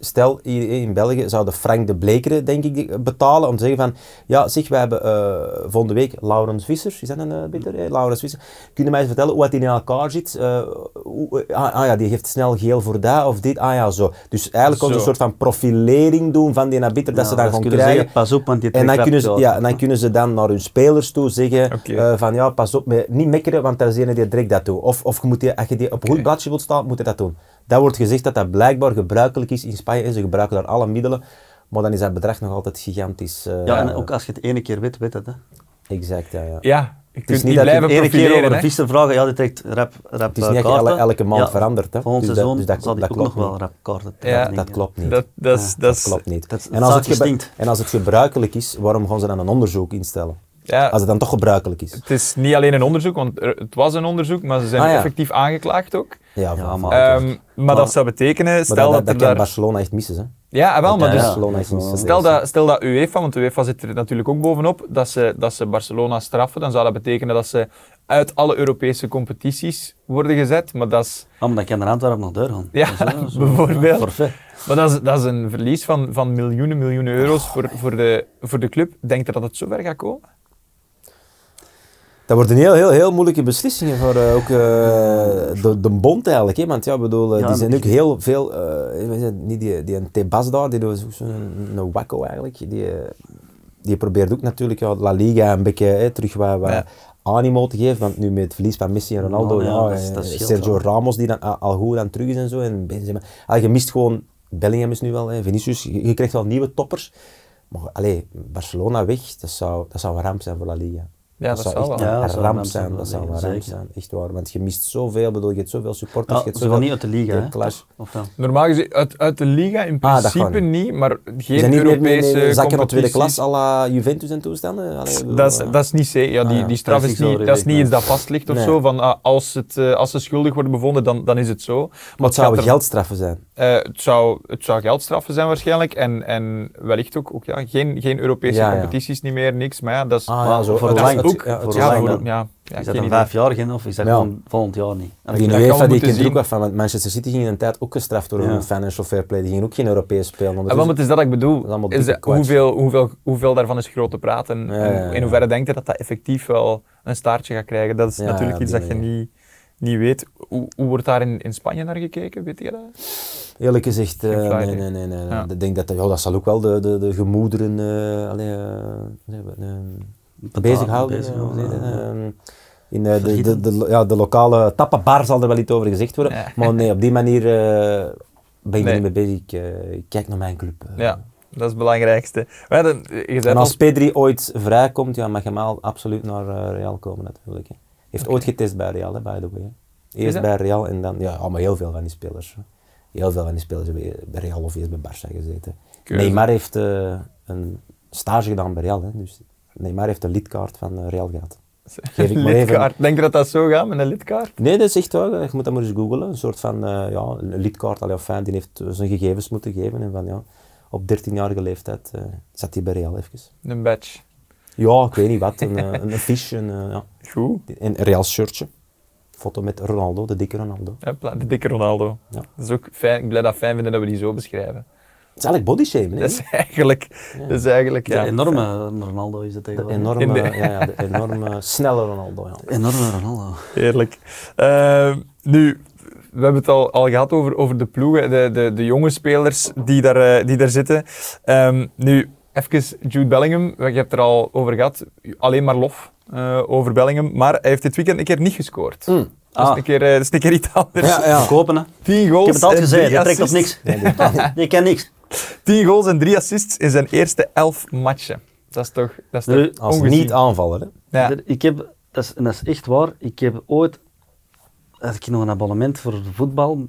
Speaker 2: stel, hier in België zouden Frank de Blekeren, denk ik, die- eh, betalen om te zeggen van... Ja, zeg, wij hebben eh, volgende week Laurens Vissers, is dat een eh bitter? hè? Laurens Vissers. Kun je mij eens vertellen hoe het in elkaar zit? Eh, hoe- eh, ah, ah ja, die geeft snel geel voor dat of dit. Ah ja, zo. Dus eigenlijk kon
Speaker 1: Zo.
Speaker 2: ze een soort van profilering doen van die arbiter, dat ze dan gaan
Speaker 3: kunnen
Speaker 2: krijgen.
Speaker 3: zeggen, pas op, want die
Speaker 2: En dan,
Speaker 3: trekt
Speaker 2: kunnen ze,
Speaker 3: wel.
Speaker 2: ja, en dan kunnen ze dan naar hun spelers toe zeggen
Speaker 1: Oké.
Speaker 2: eh, van ja, pas op, met, niet mekkeren, want daar is ene die direct dat doet. Of, of je moet die, als je die op een goed blaadje wilt staan, moet je dat doen. Dat wordt gezegd dat dat blijkbaar gebruikelijk is in Spanje en ze gebruiken daar alle middelen. Maar dan is dat bedrag nog altijd gigantisch. eh,
Speaker 3: Ja, en ook als je het ene keer weet, weet het. Hè.
Speaker 2: Exact, ja. ja.
Speaker 1: Ja, je kunt
Speaker 2: niet
Speaker 1: niet
Speaker 2: dat je
Speaker 1: blijven
Speaker 3: De ene keer
Speaker 1: profileren.
Speaker 3: over
Speaker 1: hè.
Speaker 3: de vissen vragen, ja, die trekt rap, rap eh,
Speaker 2: Het is niet dat je
Speaker 3: kaarten.
Speaker 2: elle- elke maand
Speaker 3: Ja,
Speaker 2: verandert. Hè.
Speaker 3: Volgend
Speaker 2: Dus dat-
Speaker 3: seizoen
Speaker 2: dus dat-
Speaker 3: zal die
Speaker 2: dat
Speaker 3: ook
Speaker 2: klopt
Speaker 3: nog wel
Speaker 2: niet.
Speaker 3: rap
Speaker 1: Ja,
Speaker 3: kaarten trekken,
Speaker 2: Dat
Speaker 3: denk ik.
Speaker 2: klopt niet.
Speaker 1: Dat, dat, is, dat, is-
Speaker 2: klopt niet.
Speaker 3: dat
Speaker 2: en, als het
Speaker 3: zaakje
Speaker 2: gebru-
Speaker 3: stinkt.
Speaker 2: en als het gebruikelijk is, waarom gaan ze dan een onderzoek instellen?
Speaker 1: Ja,
Speaker 2: Als het dan toch gebruikelijk is.
Speaker 1: het is niet alleen een onderzoek, want er- het was een onderzoek, maar ze zijn
Speaker 2: Ah, ja.
Speaker 1: effectief aangeklaagd ook.
Speaker 2: Ja,
Speaker 3: Ja,
Speaker 2: van-
Speaker 3: maar-
Speaker 2: maar
Speaker 1: Ehm, maar, dat zou betekenen,
Speaker 2: dat,
Speaker 1: stel
Speaker 2: dat,
Speaker 1: dat,
Speaker 2: dat
Speaker 1: er
Speaker 2: kan
Speaker 1: daar...
Speaker 2: Barcelona echt missen, hè.
Speaker 1: Ja, ah, wel, maar
Speaker 3: Ja,
Speaker 1: dus...
Speaker 3: ja.
Speaker 2: Barcelona is niet zo
Speaker 1: Stel
Speaker 2: bezig.
Speaker 1: dat, stel dat UEFA, want UEFA zit er natuurlijk ook bovenop, dat ze, dat ze Barcelona straffen, dan zou dat betekenen dat ze uit alle Europese competities worden gezet. Maar dat is,
Speaker 3: Ah, maar dan kan er Antwerpen nog deur gaan.
Speaker 1: Ja,
Speaker 3: Dat is, eh, zo-
Speaker 1: bijvoorbeeld.
Speaker 3: Forfait.
Speaker 1: maar dat is, dat is een verlies van, van miljoenen, miljoenen euro's voor, voor, de, voor de club. Denkt er dat het zover gaat komen?
Speaker 2: Dat wordt een heel, heel, heel moeilijke beslissingen voor eh, ook eh, de, de bond eigenlijk. Hè? Want ja, ik bedoel, eh,
Speaker 3: Ja,
Speaker 2: die zijn
Speaker 3: maar-
Speaker 2: ook heel veel... eh, weet je, niet die, die een Tebas daar, die is ook zo'n een wacko eigenlijk. Die, eh, die probeert ook natuurlijk ja, La Liga een beetje hè, terug wat, wat
Speaker 1: Ja.
Speaker 2: animo te geven. Want nu met het verlies van Messi en Ronaldo,
Speaker 3: Nou, ja,
Speaker 2: ja,
Speaker 3: dat is-
Speaker 2: eh,
Speaker 3: dat scheelt
Speaker 2: Sergio
Speaker 3: wel.
Speaker 2: Ramos die dan al- al goed aan terug is en zo. En Benzema. Ah, je mist gewoon... Bellingham is nu wel, hè, Vinicius. Je, je krijgt wel nieuwe toppers. Maar allee, Barcelona weg, dat zou, dat zou een ramp zijn voor La Liga.
Speaker 1: Ja, dat
Speaker 2: zou
Speaker 1: zal
Speaker 2: echt
Speaker 1: wel.
Speaker 2: een
Speaker 3: Ja, dat zou
Speaker 2: ramp
Speaker 3: een
Speaker 2: zijn.
Speaker 3: ramp
Speaker 2: Dat
Speaker 3: zijn,
Speaker 2: zou een
Speaker 3: zeker.
Speaker 2: ramp zijn, echt waar. Want je mist zoveel, bedoel, je hebt zoveel supporters.
Speaker 3: Ja,
Speaker 2: je hebt
Speaker 3: Ze gaan niet uit de liga,
Speaker 2: je
Speaker 3: hè?
Speaker 2: clash.
Speaker 3: Of wel?
Speaker 1: Normaal gezien, uit, uit de liga in
Speaker 2: Ah, dat
Speaker 1: principe
Speaker 2: gaat niet.
Speaker 1: niet, maar
Speaker 2: Je
Speaker 1: geen
Speaker 2: bent niet meer met-
Speaker 1: Europese
Speaker 2: met met zakken op tweede
Speaker 1: competities.
Speaker 2: klas à la Juventus en toestanden. Allee, ik bedoel,
Speaker 1: Dat is,
Speaker 2: eh,
Speaker 1: dat is niet zeker. Ja, die,
Speaker 2: ja.
Speaker 1: die straf
Speaker 3: Dat is
Speaker 1: is
Speaker 3: niet zo
Speaker 1: niet, dat is niet
Speaker 3: redelijk,
Speaker 1: iets dat vast ligt of
Speaker 2: Nee.
Speaker 1: zo. Van, ah, als, het, eh, als ze schuldig worden bevonden, dan, dan is het zo. Maar
Speaker 2: maar het
Speaker 1: gaat
Speaker 2: zouden
Speaker 1: er-
Speaker 2: geldstraffen zijn.
Speaker 1: Eh, het, zou, het zou geldstraffen zijn waarschijnlijk. En, en wellicht ook, ook ja, geen, geen Europese
Speaker 2: Ja, ja.
Speaker 1: competities niet meer, niks. Maar ja, dat is,
Speaker 2: Ah,
Speaker 3: Maar
Speaker 2: ja, zo.
Speaker 3: voor
Speaker 2: het-
Speaker 3: lang
Speaker 2: het-
Speaker 1: ook.
Speaker 2: ja, het-
Speaker 3: Voor
Speaker 1: ja,
Speaker 3: lang
Speaker 1: voor-
Speaker 3: dan.
Speaker 1: ja, ja,
Speaker 3: Is
Speaker 1: ik
Speaker 3: dat
Speaker 1: weet
Speaker 3: dan
Speaker 1: niet.
Speaker 3: vijf jaar geen of is dat
Speaker 2: Ja.
Speaker 3: gewoon volgend jaar niet? En
Speaker 2: Die
Speaker 1: dat gaan
Speaker 3: dan-
Speaker 1: we
Speaker 2: UEFA die
Speaker 1: moeten
Speaker 2: kent er ook
Speaker 1: zien.
Speaker 2: wat van, want Manchester City ging een tijd ook gestraft door
Speaker 3: Ja.
Speaker 2: hun financial fair play. Die gingen ook geen Europees spelen.
Speaker 1: Ah, wel, maar het is dat ik bedoel.
Speaker 2: is allemaal
Speaker 1: Is
Speaker 2: dikke
Speaker 1: dat-
Speaker 2: kwats.
Speaker 1: hoeveel, hoeveel, hoeveel daarvan is grote praat? En,
Speaker 2: Ja,
Speaker 1: en
Speaker 2: ja, ja.
Speaker 1: in hoeverre denkt je dat dat effectief wel een staartje gaat krijgen? Dat is
Speaker 2: Ja,
Speaker 1: natuurlijk
Speaker 2: ja,
Speaker 1: iets
Speaker 2: die
Speaker 1: dat je
Speaker 2: manier.
Speaker 1: niet, niet weet. Hoe, hoe wordt daar in, in Spanje naar gekeken? Weet je dat?
Speaker 2: Eerlijk gezegd, eh,
Speaker 1: Geen flauw
Speaker 2: nee,
Speaker 1: idee.
Speaker 2: nee, nee. nee.
Speaker 1: Ja.
Speaker 2: Ik denk dat ja, dat zal ook wel de, de, de gemoederen, eh allee, eh, nee, wat, eh, bezighouden.
Speaker 3: bezighouden,
Speaker 2: eh,
Speaker 3: ja.
Speaker 2: ehm, in eh, de, de, de, ja, de lokale tappabar zal er wel iets over gezegd worden.
Speaker 1: Ja.
Speaker 2: Maar nee, op die manier eh, ben ik
Speaker 1: Nee.
Speaker 2: er niet mee bezig. Ik, eh, ik kijk naar mijn club. eh.
Speaker 1: Ja, dat is het belangrijkste. We hadden, je zei het
Speaker 2: En
Speaker 1: al,
Speaker 2: als Pedri ooit vrijkomt, ja, mag Jamal absoluut naar eh, Real komen natuurlijk. Hè. Heeft ooit getest bij Real, hè, by the way. hè. Eerst
Speaker 1: dat?
Speaker 2: bij Real en dan... Ja, maar heel veel van die spelers. hè. Heel veel van die spelers hebben bij Real of eerst bij Barça gezeten.
Speaker 1: Keuze.
Speaker 2: Neymar heeft eh, een stage gedaan bij Real. Hè, dus Neymar heeft een lidkaart van eh, Real gehad. Geef ik maar even-
Speaker 1: lidkaart. Denk je dat dat zo gaat met een lidkaart?
Speaker 2: Nee, dat is echt waar. Je moet dat maar eens googlen. Een soort van eh, ja, een lidkaart. Allee, fijn, die heeft eh, zijn gegevens moeten geven. En van, ja, op 13-jarige leeftijd eh, zat hij bij Real even.
Speaker 1: Een badge.
Speaker 2: Ja, ik weet niet wat. Een, eh, een affiche, een, eh, ja.
Speaker 1: Goed.
Speaker 2: een Real shirtje. Foto met Ronaldo, de dikke Ronaldo.
Speaker 1: Hopla, de dikke Ronaldo.
Speaker 2: Ja.
Speaker 1: Dat is ook fijn. Ik blijf dat fijn vinden dat we die zo beschrijven.
Speaker 2: Het is eigenlijk bodyshaming, hè?
Speaker 1: Dat is eigenlijk... Dat is eigenlijk
Speaker 3: Ja,
Speaker 1: ja.
Speaker 3: enorme Ronaldo is dat
Speaker 2: De
Speaker 3: tegenwoordig.
Speaker 2: enorme,
Speaker 1: In de-
Speaker 2: ja, ja, de enorme snelle Ronaldo. Ja.
Speaker 3: Enorme Ronaldo.
Speaker 1: Heerlijk. Eh, nu, we hebben het al, al gehad over, over de ploegen, de, de, de jonge spelers die daar, eh, die daar zitten. Ehm, nu, even Jude Bellingham, je hebt er al over gehad. Alleen maar lof eh, over Bellingham, maar hij heeft dit weekend een keer niet gescoord. Dat, is
Speaker 3: Ah.
Speaker 1: een keer, eh, dat is een keer iets anders.
Speaker 2: Ja, ja.
Speaker 3: Kopen, hè.
Speaker 1: Tien goals
Speaker 3: Ik heb het al
Speaker 1: en
Speaker 3: gezegd,
Speaker 1: drie
Speaker 3: dat trekt op
Speaker 1: assists.
Speaker 3: niks. Je kent niks.
Speaker 1: Tien goals en drie assists in zijn eerste elf matchen. Dat is toch, dat is toch
Speaker 3: Nee,
Speaker 2: Als
Speaker 1: ongezien.
Speaker 2: niet-aanvaller, hè?
Speaker 1: Ja.
Speaker 3: Er- Ik heb, dat is, en dat is echt waar, ik heb ooit, had ik nog een abonnement voor de voetbal,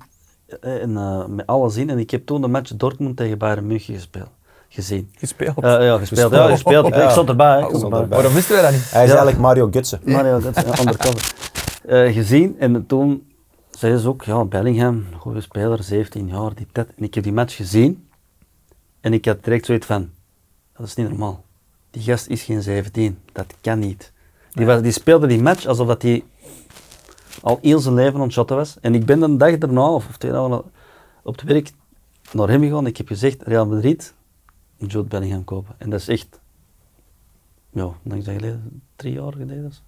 Speaker 3: eh, en, eh, met alles in, en ik heb toen de match Dortmund tegen Bayern München gespeeld, gezien.
Speaker 1: Gespeeld.
Speaker 3: Eh, ja, gespeeld. Ja, gespeeld.
Speaker 2: Ja.
Speaker 3: Ik stond erbij. hè. Ik
Speaker 2: Oh,
Speaker 3: stond
Speaker 2: stond
Speaker 3: erbij.
Speaker 1: Waarom wisten wij dat niet?
Speaker 2: Hij is
Speaker 3: Ja.
Speaker 2: eigenlijk Mario Götze.
Speaker 3: Mario, dat is een undercover. Eh, gezien en toen zei ze ook, ja, Bellingham, goede speler, 17 jaar, die tijd. En ik heb die match gezien en ik had direct zoiets van, dat is niet normaal. Die gast is geen 17, dat kan niet. Die, was, die speelde die match alsof dat hij al heel zijn leven aan het shotten was. En ik ben een dag daarna, of, of twee dagen, op het werk naar hem gegaan. Ik heb gezegd, Real Madrid, Jude Bellingham kopen. En dat is echt, ja, lang geleden, drie jaar geleden. of zo.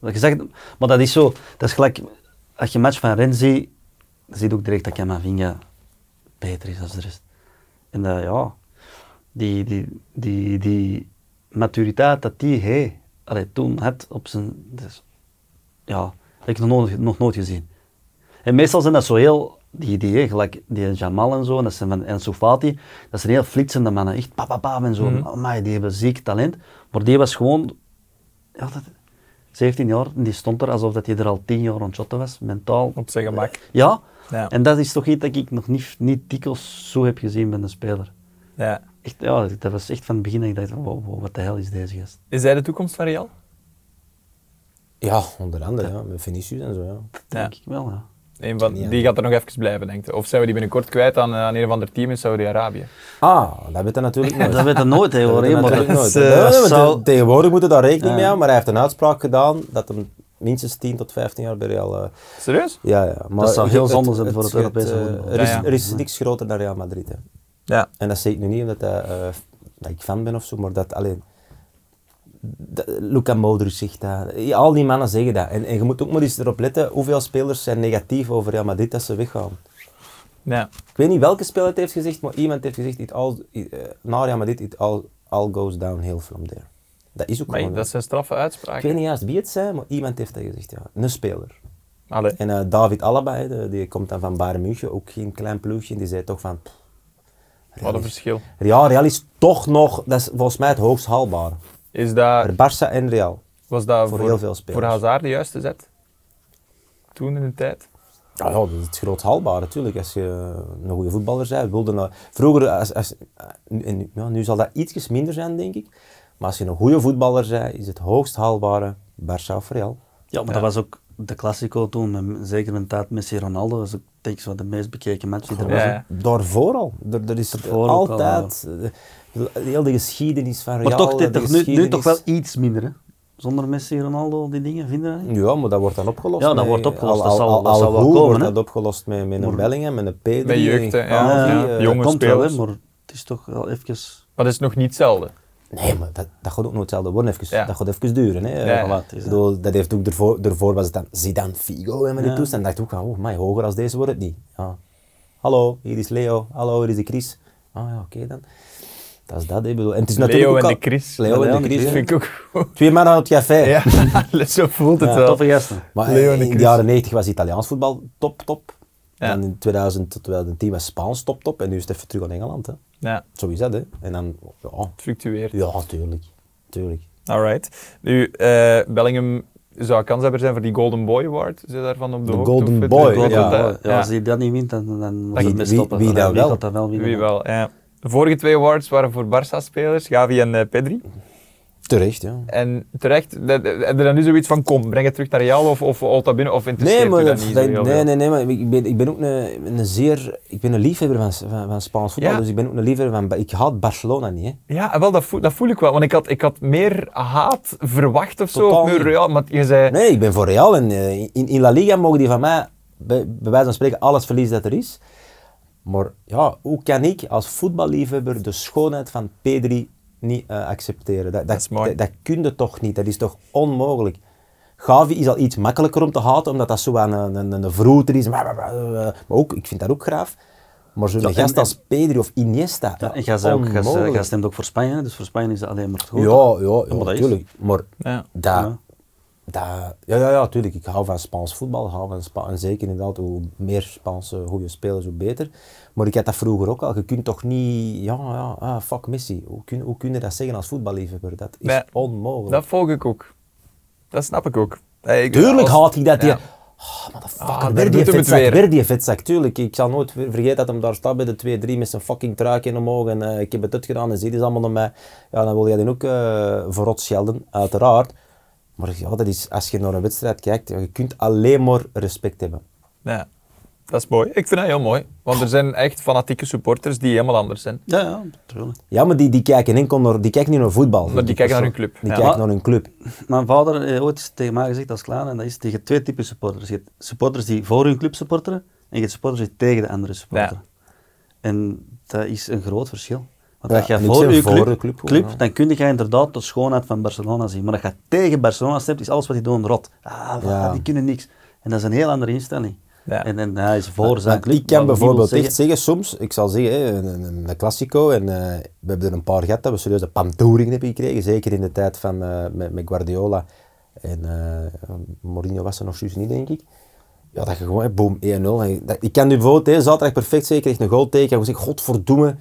Speaker 3: Dat je zegt, maar dat is zo, dat is gelijk, als je een match van Ren ziet, dan zie je ook direct dat Camavinga beter is dan de rest. En dat, ja, die, die, die, die maturiteit dat die hij allee, toen had op zijn, dus, ja, heb ik nog nooit, nog nooit gezien. En meestal zijn dat zo heel, die, die, hè, gelijk die Jamal en zo, en, dat zijn van, en Soufati, dat zijn heel flitsende mannen, echt pa, pa, pa, en zo. Amai, die hebben ziek talent. Maar die was gewoon, ja, dat, 17 jaar, en die stond er alsof dat hij er al 10 jaar aan het shotten was, mentaal.
Speaker 1: Op zijn gemak.
Speaker 3: Ja.
Speaker 1: Ja.
Speaker 3: en dat is toch iets dat ik nog niet, niet dikwijls zo heb gezien bij een speler.
Speaker 1: Ja.
Speaker 3: Echt, ja, dat was echt van het begin dat ik dacht, wow, wow, wat de hel is deze gast.
Speaker 1: Is hij de toekomst van Real?
Speaker 2: Ja, onder andere, ja. Met Vinicius en zo, ja.
Speaker 3: Dat denk ik wel, ja.
Speaker 1: Een van,
Speaker 2: Ja.
Speaker 1: Die gaat er nog even blijven, denk je. Of zijn we die binnenkort kwijt aan, eh, aan een of ander team in Saudi-Arabië?
Speaker 2: Ah, dat weet hij natuurlijk nooit.
Speaker 3: Dat weet je nooit, hè,
Speaker 2: Dat
Speaker 3: hoor. hè,
Speaker 2: weet
Speaker 3: maar
Speaker 2: hij natuurlijk
Speaker 3: dat
Speaker 2: nooit. Nee,
Speaker 3: is, eh,
Speaker 2: nee, want
Speaker 3: zou-
Speaker 2: de- Tegenwoordig moet hij daar rekening mee houden, maar hij heeft een uitspraak gedaan dat hem minstens 10 tot 15 jaar bij Real... eh,
Speaker 1: Serieus?
Speaker 2: Ja, ja. Maar
Speaker 3: Dat zou heel
Speaker 2: het-
Speaker 3: zonde zijn voor het Europese
Speaker 2: eh,
Speaker 3: voetbal.
Speaker 2: er, is,
Speaker 1: Ja, ja.
Speaker 2: er is niks groter dan Real Madrid. Hè.
Speaker 1: Ja.
Speaker 2: En dat zeg ik nu niet omdat dat, eh, dat ik fan ben of zo, maar dat alleen. dat- Luka Modric zegt dat. Ja, Al die mannen zeggen dat. En, en je moet ook maar eens erop letten hoeveel spelers zijn negatief over Real Madrid dat ze weggaan.
Speaker 1: Ja.
Speaker 2: Ik weet niet welke speler het heeft gezegd, maar iemand heeft gezegd: it all, it, eh, na Real Madrid, it all, all goes downhill from there. Dat is ook
Speaker 1: Maar
Speaker 2: gewoon.
Speaker 1: dat
Speaker 2: hè.
Speaker 1: zijn straffe
Speaker 2: Ik
Speaker 1: uitspraken.
Speaker 2: weet niet juist wie het zijn, maar iemand heeft dat gezegd. Ja. Een speler.
Speaker 1: Allee.
Speaker 2: En eh, David Alaba, hè, de- die komt dan van Bayern München, ook geen klein ploegje. Die zei toch van... pff,
Speaker 1: Wat een verschil.
Speaker 2: Ja, Real is toch nog... Dat is volgens mij het hoogst haalbare.
Speaker 1: Is dat,
Speaker 2: Er Barça en Real.
Speaker 1: was dat voor,
Speaker 2: heel veel spelers.
Speaker 1: voor Hazard de juiste zet? Toen in de tijd?
Speaker 2: Ah, Ja, ja, dat is het groot haalbare, natuurlijk. Als je eh, een goede voetballer bent. Wilde nou- vroeger, als, als, eh, nu- en nu, ja, nu zal dat ietsjes minder zijn, denk ik. Maar als je een goede voetballer bent, is het hoogst haalbare Barça of Real.
Speaker 3: Ja, maar dat was ook de Classico toen, met- zeker in de tijd Messi-Ronaldo, was ook, denk ik, zo de meest bekeken match die er was.
Speaker 1: Ja,
Speaker 3: hè.
Speaker 1: ja.
Speaker 2: Daarvoor al. Er, er is
Speaker 3: Daarvoor ook al,
Speaker 2: altijd... eh, Heel de geschiedenis van Real.
Speaker 3: Maar toch, dit,
Speaker 2: de
Speaker 3: toch nu, nu toch
Speaker 2: geschiedenis-
Speaker 3: wel iets minder, hè. Zonder Messi-Ronaldo, die dingen, vinden we niet?
Speaker 2: Ja, maar dat wordt dan opgelost.
Speaker 3: Ja, dat
Speaker 2: met-
Speaker 3: wordt opgelost.
Speaker 2: Al,
Speaker 3: Dat
Speaker 2: al,
Speaker 3: zal-
Speaker 2: al,
Speaker 3: dat zal wel
Speaker 2: hoe
Speaker 3: komen,
Speaker 2: wordt
Speaker 3: hè?
Speaker 2: dat opgelost met, met een Bellingham, met een Pedri,
Speaker 1: Met jeugd, hè,
Speaker 2: een
Speaker 1: ja,
Speaker 2: Gavi,
Speaker 1: ja.
Speaker 2: eh,
Speaker 1: Jong. jonge
Speaker 3: dat komt wel, hè,
Speaker 1: spelers.
Speaker 3: maar het is toch wel even...
Speaker 1: Maar dat is nog niet hetzelfde.
Speaker 2: Nee, maar dat, dat gaat ook nooit hetzelfde worden. Even,
Speaker 1: Ja.
Speaker 2: Dat gaat even duren. Hè.
Speaker 1: Ja,
Speaker 3: ja,
Speaker 2: Ik
Speaker 3: het is
Speaker 2: bedoel, dat heeft ook ervoor, daarvoor was het dan Zidane, Figo en met die toestand. dacht ik ook, van, oh, mij hoger als deze wordt het niet. Ja. Hallo, hier is Leo. Hallo, hier is de Chris. Ah ja, oké dan. Dat is dat, hè. Ik bedoel, En het is natuurlijk
Speaker 1: Leo
Speaker 2: ook
Speaker 1: en
Speaker 2: al-
Speaker 1: de Chris.
Speaker 2: Leo en de Chris.
Speaker 1: Dat
Speaker 2: hè.
Speaker 1: vind ik ook goed.
Speaker 2: Twee mannen aan het café.
Speaker 1: Ja, zo voelt het
Speaker 2: Ja,
Speaker 1: wel.
Speaker 3: Toffe gasten.
Speaker 2: Maar eh,
Speaker 1: Leo en de
Speaker 2: in de
Speaker 1: Chris.
Speaker 2: jaren 90 was Italiaans voetbal top, top.
Speaker 1: Ja.
Speaker 2: En in 2000 tot 2010 was Spaans top, top. En nu is het even terug aan Engeland. Hè.
Speaker 1: Ja,
Speaker 2: Zo is dat, hè. En dan, ja,
Speaker 1: het fluctueert.
Speaker 2: ja tuurlijk. tuurlijk.
Speaker 1: Alright. Nu, eh, Bellingham zou kanshebber zijn voor die Golden Boy Award. Is hij daarvan op de,
Speaker 2: De
Speaker 1: hoogte?
Speaker 2: Golden
Speaker 1: Of het-
Speaker 2: Boy,
Speaker 1: het- het-
Speaker 2: ja.
Speaker 1: het-
Speaker 3: Ja, als
Speaker 1: ja,
Speaker 3: hij dat niet wint, dan, dan moet
Speaker 2: Wie-
Speaker 3: het mee
Speaker 2: wie-
Speaker 3: stoppen.
Speaker 2: wie
Speaker 3: Dan
Speaker 2: dan wel?
Speaker 3: gaat dat wel winnen.
Speaker 1: Wie wel, ja. De vorige twee awards waren voor Barça-spelers, Gavi en eh, Pedri.
Speaker 2: Terecht, ja.
Speaker 1: En terecht, dat- dat- heb je dan nu zoiets van, kom, breng het terug naar Real of, of Alta binnen, of interesseert
Speaker 2: Nee, maar,
Speaker 1: u dat
Speaker 2: dat-
Speaker 1: niet
Speaker 2: dat-
Speaker 1: zo heel
Speaker 2: nee,
Speaker 1: veel?
Speaker 2: nee, nee, maar ik ben, ik ben ook een, een zeer... Ik ben een liefhebber van, van, van Spaans voetbal,
Speaker 1: Ja.
Speaker 2: dus ik ben ook een liefhebber van... Ba- Ik haat Barcelona niet, hè.
Speaker 1: Ja, wel, dat voel, dat voel ik wel, want ik had, ik had meer haat verwacht of zo.
Speaker 2: Totaal
Speaker 1: Of nu
Speaker 2: niet.
Speaker 1: Real, maar je zei...
Speaker 2: Nee, ik ben voor Real en eh, in, in La Liga mogen die van mij, bij, bij wijze van spreken, alles verliezen dat er is. Maar ja, hoe kan ik als voetballiefhebber de schoonheid van Pedri niet eh, accepteren? Dat, dat,
Speaker 1: Dat is mooi.
Speaker 2: Dat, dat kun je toch niet, dat is toch onmogelijk? Gavi is al iets makkelijker om te haten, omdat dat zo aan een, een, een vroeter is. Maar, maar- maar- maar ook, ik vind dat ook graaf. Maar zo'n
Speaker 3: en-
Speaker 2: gast als Pedri of Iniesta,
Speaker 3: Ja, en jij zei ook, jij zei-
Speaker 2: onmogelijk.
Speaker 3: jij stemt ook voor Spanje, hè, dus voor Spanje is dat alleen maar het goed.
Speaker 2: Ja, ja, ja,
Speaker 3: maar dat is-
Speaker 2: natuurlijk. Maar
Speaker 1: Ja.
Speaker 2: dat,
Speaker 3: Ja.
Speaker 2: dat... Ja, ja, ja, natuurlijk. Ik hou van Spaans voetbal. ik Hou van Spa en zeker inderdaad, hoe meer Spaanse goede spelers, hoe beter. Maar ik had dat vroeger ook al. Je kunt toch niet... Ja, ja, ah, fuck Messi. Hoe kun, hoe kun je dat zeggen als voetballiefhebber? Dat is
Speaker 1: Nee,
Speaker 2: onmogelijk.
Speaker 1: Dat volg ik ook. Dat snap ik ook. Eh, ik- als-
Speaker 2: Tuurlijk haat ik dat. Die,
Speaker 1: Ja.
Speaker 2: Oh,
Speaker 1: Ah, daar
Speaker 2: motherfucker. Weer die
Speaker 1: doet hem het
Speaker 2: vetzak.
Speaker 1: weer.
Speaker 2: Weer die vetzak. Tuurlijk. Ik zal nooit ver- vergeten dat hem daar staat bij de 2-3 met zijn fucking truikje omhoog. En eh, ik heb het dit gedaan en zie dit allemaal naar mij. Ja, dan wil jij dan ook eh verrot schelden. Uiteraard. Maar ja, dat is, als je naar een wedstrijd kijkt, ja, je kunt alleen maar respect hebben.
Speaker 1: Ja, dat is mooi. Ik vind dat heel mooi. Want er zijn echt fanatieke supporters die helemaal anders zijn.
Speaker 3: Ja, ja, natuurlijk.
Speaker 2: Ja, maar die, die kijken enkel naar, die kijken niet naar voetbal.
Speaker 1: Maar die kijken naar hun club.
Speaker 2: Die
Speaker 1: Ja.
Speaker 2: kijken
Speaker 3: Maar-
Speaker 2: naar hun club.
Speaker 3: Mijn vader heeft ooit tegen mij gezegd als klein, en dat is tegen twee typen supporters. Je hebt supporters die voor hun club supporteren, en je hebt supporters die tegen de andere supporteren. En dat is een groot verschil. Want
Speaker 2: Ja,
Speaker 3: als jij
Speaker 2: en ik
Speaker 3: voor
Speaker 2: zeg
Speaker 3: je
Speaker 2: voor
Speaker 3: club,
Speaker 2: de
Speaker 3: club,
Speaker 2: club gewoon, ja.
Speaker 3: dan kun je inderdaad de schoonheid van Barcelona zien. Maar als je tegen Barcelona stemt, is alles wat die doen rot. Ah, wat,
Speaker 2: Ja.
Speaker 3: die kunnen niks. En dat is een heel andere instelling.
Speaker 1: Ja.
Speaker 3: En, en hij is voor zijn
Speaker 2: Want
Speaker 3: club.
Speaker 2: ik kan
Speaker 3: maar dat wil
Speaker 2: bijvoorbeeld
Speaker 3: zeggen-
Speaker 2: echt zeggen, soms, ik zal zeggen, hè, een, een, een Classico, en eh, we hebben er een paar gehad dat we serieus de pantouring hebben gekregen, zeker in de tijd van, eh, met, met Guardiola en eh Mourinho was er nog juist niet, denk ik. Ja, dat je gewoon, hè, boom, 1-0. En dat- Ik kan nu bijvoorbeeld hè, zaterdag perfect zeker echt een goal tekenen, en zeggen, godverdomme,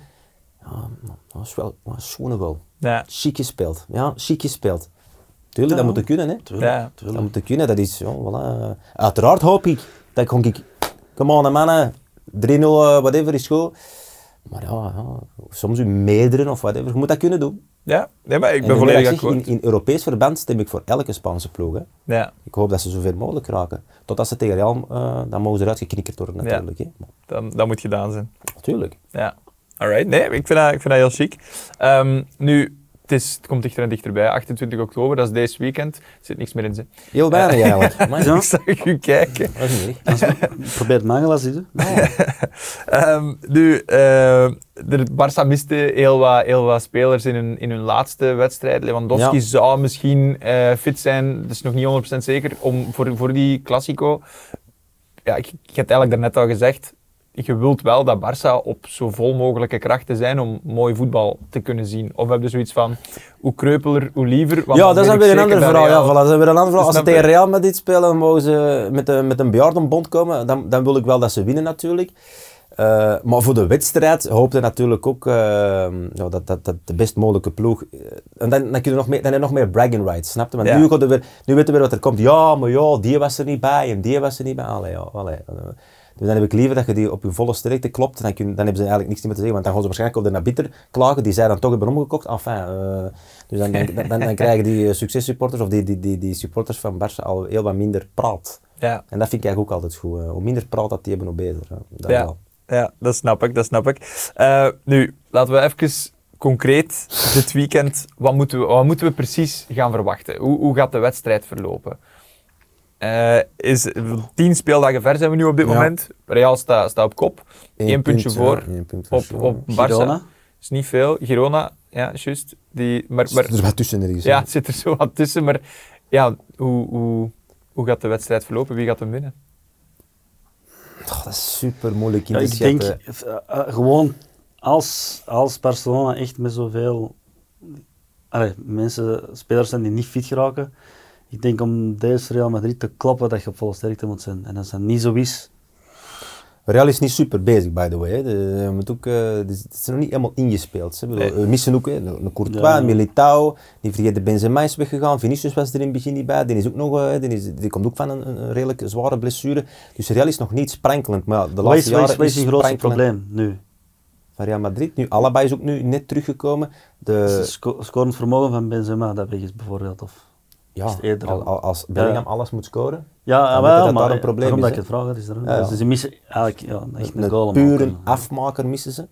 Speaker 2: ja, dat is wel dat is een schone goal.
Speaker 1: Ja.
Speaker 2: Chic gespeeld, ja, chic gespeeld. Tuurlijk, dat moet je kunnen, hè.
Speaker 3: Tuurlijk,
Speaker 1: Ja.
Speaker 3: tuurlijk.
Speaker 2: Dat moet ik kunnen, dat is, ja, voilà. Uiteraard hoop ik, dat ik, gewoon ik come on mannen, 3-0, eh, whatever is goed. Maar ja, ja, soms u meerdere of whatever, je moet dat kunnen doen.
Speaker 1: Ja, nee, maar ik ben
Speaker 2: En nu dat
Speaker 1: volledig
Speaker 2: ik zeg,
Speaker 1: akkoord.
Speaker 2: in, in Europees verband stem ik voor elke Spaanse ploeg. Hè.
Speaker 1: Ja,
Speaker 2: Ik hoop dat ze zoveel mogelijk raken. Totdat ze tegen Real, eh, dan mogen ze eruit geknikkerd worden natuurlijk. Hè. Maar,
Speaker 1: dat, dat moet gedaan zijn.
Speaker 2: natuurlijk.
Speaker 1: Ja. Alright, nee, ik vind dat, ik vind dat heel chic. Ehm, nu, het, is, het komt dichter en dichterbij. 28 oktober, dat is deze weekend. Er zit niks meer in zin.
Speaker 2: Heel weinig eigenlijk. Maar,
Speaker 3: Zo.
Speaker 1: Ik zag u kijken.
Speaker 2: dat is niet erg.
Speaker 3: Probeer het maar glas te doen.
Speaker 1: Ehm, nu, eh de Barça miste heel wat, heel wat spelers in hun, in hun laatste wedstrijd. Lewandowski
Speaker 2: Ja.
Speaker 1: zou misschien eh, fit zijn, dat is nog niet 100% zeker, om, voor, voor die Classico. Ja, ik, ik heb het eigenlijk daarnet al gezegd. Je wilt wel dat Barça op zo vol mogelijke krachten zijn om mooi voetbal te kunnen zien. Of we hebben zoiets van, hoe kreupeler, hoe liever. Want
Speaker 2: Ja,
Speaker 1: dan
Speaker 2: dat is
Speaker 1: weet
Speaker 2: dan
Speaker 1: ik
Speaker 2: weer een
Speaker 1: zeker
Speaker 2: ander
Speaker 1: dat
Speaker 2: verhaal. Ja,
Speaker 1: Real-
Speaker 2: voilà, dat is weer een ander verhaal. Als ze
Speaker 1: snap
Speaker 2: tegen
Speaker 1: je?
Speaker 2: Real Madrid spelen, dan mogen ze met een, met een bejaardenbond komen. Dan, dan wil ik wel dat ze winnen natuurlijk. Eh, maar voor de wedstrijd hoopte natuurlijk ook eh, ja, dat, dat, dat de best mogelijke ploeg. eh, en dan, dan, kun je nog meer, dan heb je nog meer bragging rights, snap je? Want
Speaker 1: Ja.
Speaker 2: nu, gaat er weer, nu weten we weer wat er komt. Ja, maar ja, die was er niet bij en die was er niet bij. Allee, ja, allee. Dus dan heb ik liever dat je die op je volle sterkte klopt. Dan, kun, dan hebben ze eigenlijk niks meer te zeggen. Want dan gaan ze waarschijnlijk op de nabiter klagen die zij dan toch hebben omgekocht. Enfin, eh, dus dan, dan, dan, dan krijgen die eh, successupporters of die, die, die, die supporters van Barça al heel wat minder praat.
Speaker 1: Ja.
Speaker 2: En dat vind ik eigenlijk ook altijd goed. eh. Hoe minder praat dat die hebben, hoe beter. hè. Dat
Speaker 1: Ja,
Speaker 2: wel.
Speaker 1: ja, dat snap ik, dat snap ik. Eh, nu, laten we even concreet dit weekend, wat moeten we, wat moeten we precies gaan verwachten? Hoe, hoe gaat de wedstrijd verlopen? Eh, is, tien speeldagen ver zijn we nu op dit
Speaker 2: Ja.
Speaker 1: moment. Real staat staat op kop. Eén,
Speaker 2: Eén
Speaker 1: puntje
Speaker 2: punt,
Speaker 1: voor
Speaker 2: ja, één punt
Speaker 1: op,
Speaker 2: verschil.
Speaker 1: op
Speaker 3: Girona.
Speaker 1: Barça. is niet veel. Girona, ja, juist. Die, maar, maar,
Speaker 2: Dus Er is wat tussen er is. hè.
Speaker 1: ja, het zit er zo wat tussen. Maar ja, hoe, hoe, hoe gaat de wedstrijd verlopen? Wie gaat hem winnen?
Speaker 2: Goh, dat is super moeilijk in
Speaker 3: Ja,
Speaker 2: te
Speaker 3: ik denk
Speaker 2: schatten.
Speaker 3: eh, eh, gewoon als, als Barcelona echt met zoveel allee, mensen, spelers zijn die niet fit geraken, ik denk om deze Real Madrid te klappen dat je op volle sterkte moet zijn. En als dat niet zo is,
Speaker 2: Real is niet super bezig, by the way. hè. De- je moet ook, eh, het is- het is nog niet helemaal ingespeeld. Hè. Ik bedoel,
Speaker 1: Nee.
Speaker 2: We missen ook hè, een een Courtois,
Speaker 3: Ja.
Speaker 2: een Militao. Die vergeten Benzema is weggegaan. Vinicius was er in het begin niet bij. Die, is ook nog, eh, die, is- die komt ook van een, een een redelijk zware blessure. Dus Real is nog niet sprankelend. Maar ja, de
Speaker 3: wat is,
Speaker 2: laatste
Speaker 3: wat is,
Speaker 2: jaren
Speaker 3: wat is het grootste
Speaker 2: sprankelend
Speaker 3: probleem nu?
Speaker 2: Van Real Madrid. Nu, Alaba is ook nu net teruggekomen.
Speaker 3: Is
Speaker 2: De,
Speaker 3: het sco- scorend vermogen van Benzema, dat weg is bijvoorbeeld. Of,
Speaker 2: ja,
Speaker 3: is het eerder
Speaker 2: al-
Speaker 3: al?
Speaker 2: al- als Bellingham
Speaker 3: Ja.
Speaker 2: alles moet scoren,
Speaker 3: ja,
Speaker 2: dan
Speaker 3: ah,
Speaker 2: weet je
Speaker 3: wel,
Speaker 2: dat
Speaker 3: maar
Speaker 2: daar een probleem
Speaker 3: daarom
Speaker 2: is.
Speaker 3: dat
Speaker 2: hè.
Speaker 3: ik het vraag had, is daarom.
Speaker 2: Ja, ja.
Speaker 3: Dus ze missen eigenlijk ja, echt een,
Speaker 2: een
Speaker 3: goal. om
Speaker 2: pure
Speaker 3: ook, eh, hè.
Speaker 2: afmaker missen ze.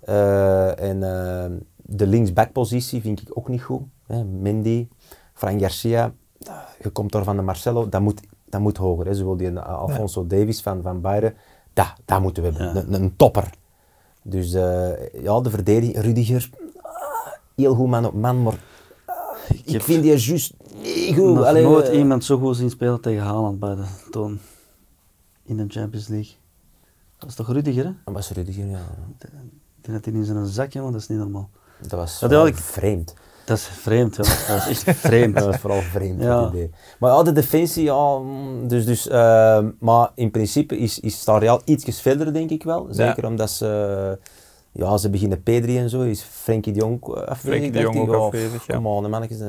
Speaker 2: Eh, en eh, de linksbackpositie vind ik ook niet goed. Hè. Mendy, Frank Garcia, eh, je komt door van de Marcelo, dat moet, dat moet hoger. Hè. Zowel die eh, Alfonso Davies van, van Bayern, dat, dat moeten we hebben.
Speaker 3: Ja.
Speaker 2: Een, een topper. Dus eh, ja, de verdediging, Rudiger, ah, heel goed man op man, maar ah, ik,
Speaker 3: heb
Speaker 2: vind die juist niet goed.
Speaker 3: nog
Speaker 2: Allee,
Speaker 3: nooit
Speaker 2: eh,
Speaker 3: iemand zo goed zien spelen tegen Haaland bij de toon in de Champions League. Dat is toch Rudiger, hè?
Speaker 2: Dat Ah, was Rudiger, ja.
Speaker 3: Ik denk dat hij in zijn zakje, want dat is niet normaal.
Speaker 2: Dat was
Speaker 3: Dat had ik-
Speaker 2: vreemd.
Speaker 3: Dat is vreemd, ja. Dat is echt vreemd.
Speaker 2: Dat is vooral vreemd,
Speaker 3: Ja.
Speaker 2: dat idee. Maar ja, de defensie, ja, mm, dus, dus, eh, maar in principe is, is daar Real ietsjes verder, denk ik wel. Zeker omdat ze, eh, ja, ze beginnen P3 en zo, is Frenkie de Jong eh, afwezig.
Speaker 1: Frenkie de
Speaker 2: dacht
Speaker 1: Jong
Speaker 2: ik.
Speaker 1: ook
Speaker 2: Ja,
Speaker 1: afwezig, ja.
Speaker 2: come on, de mannetjes, eh,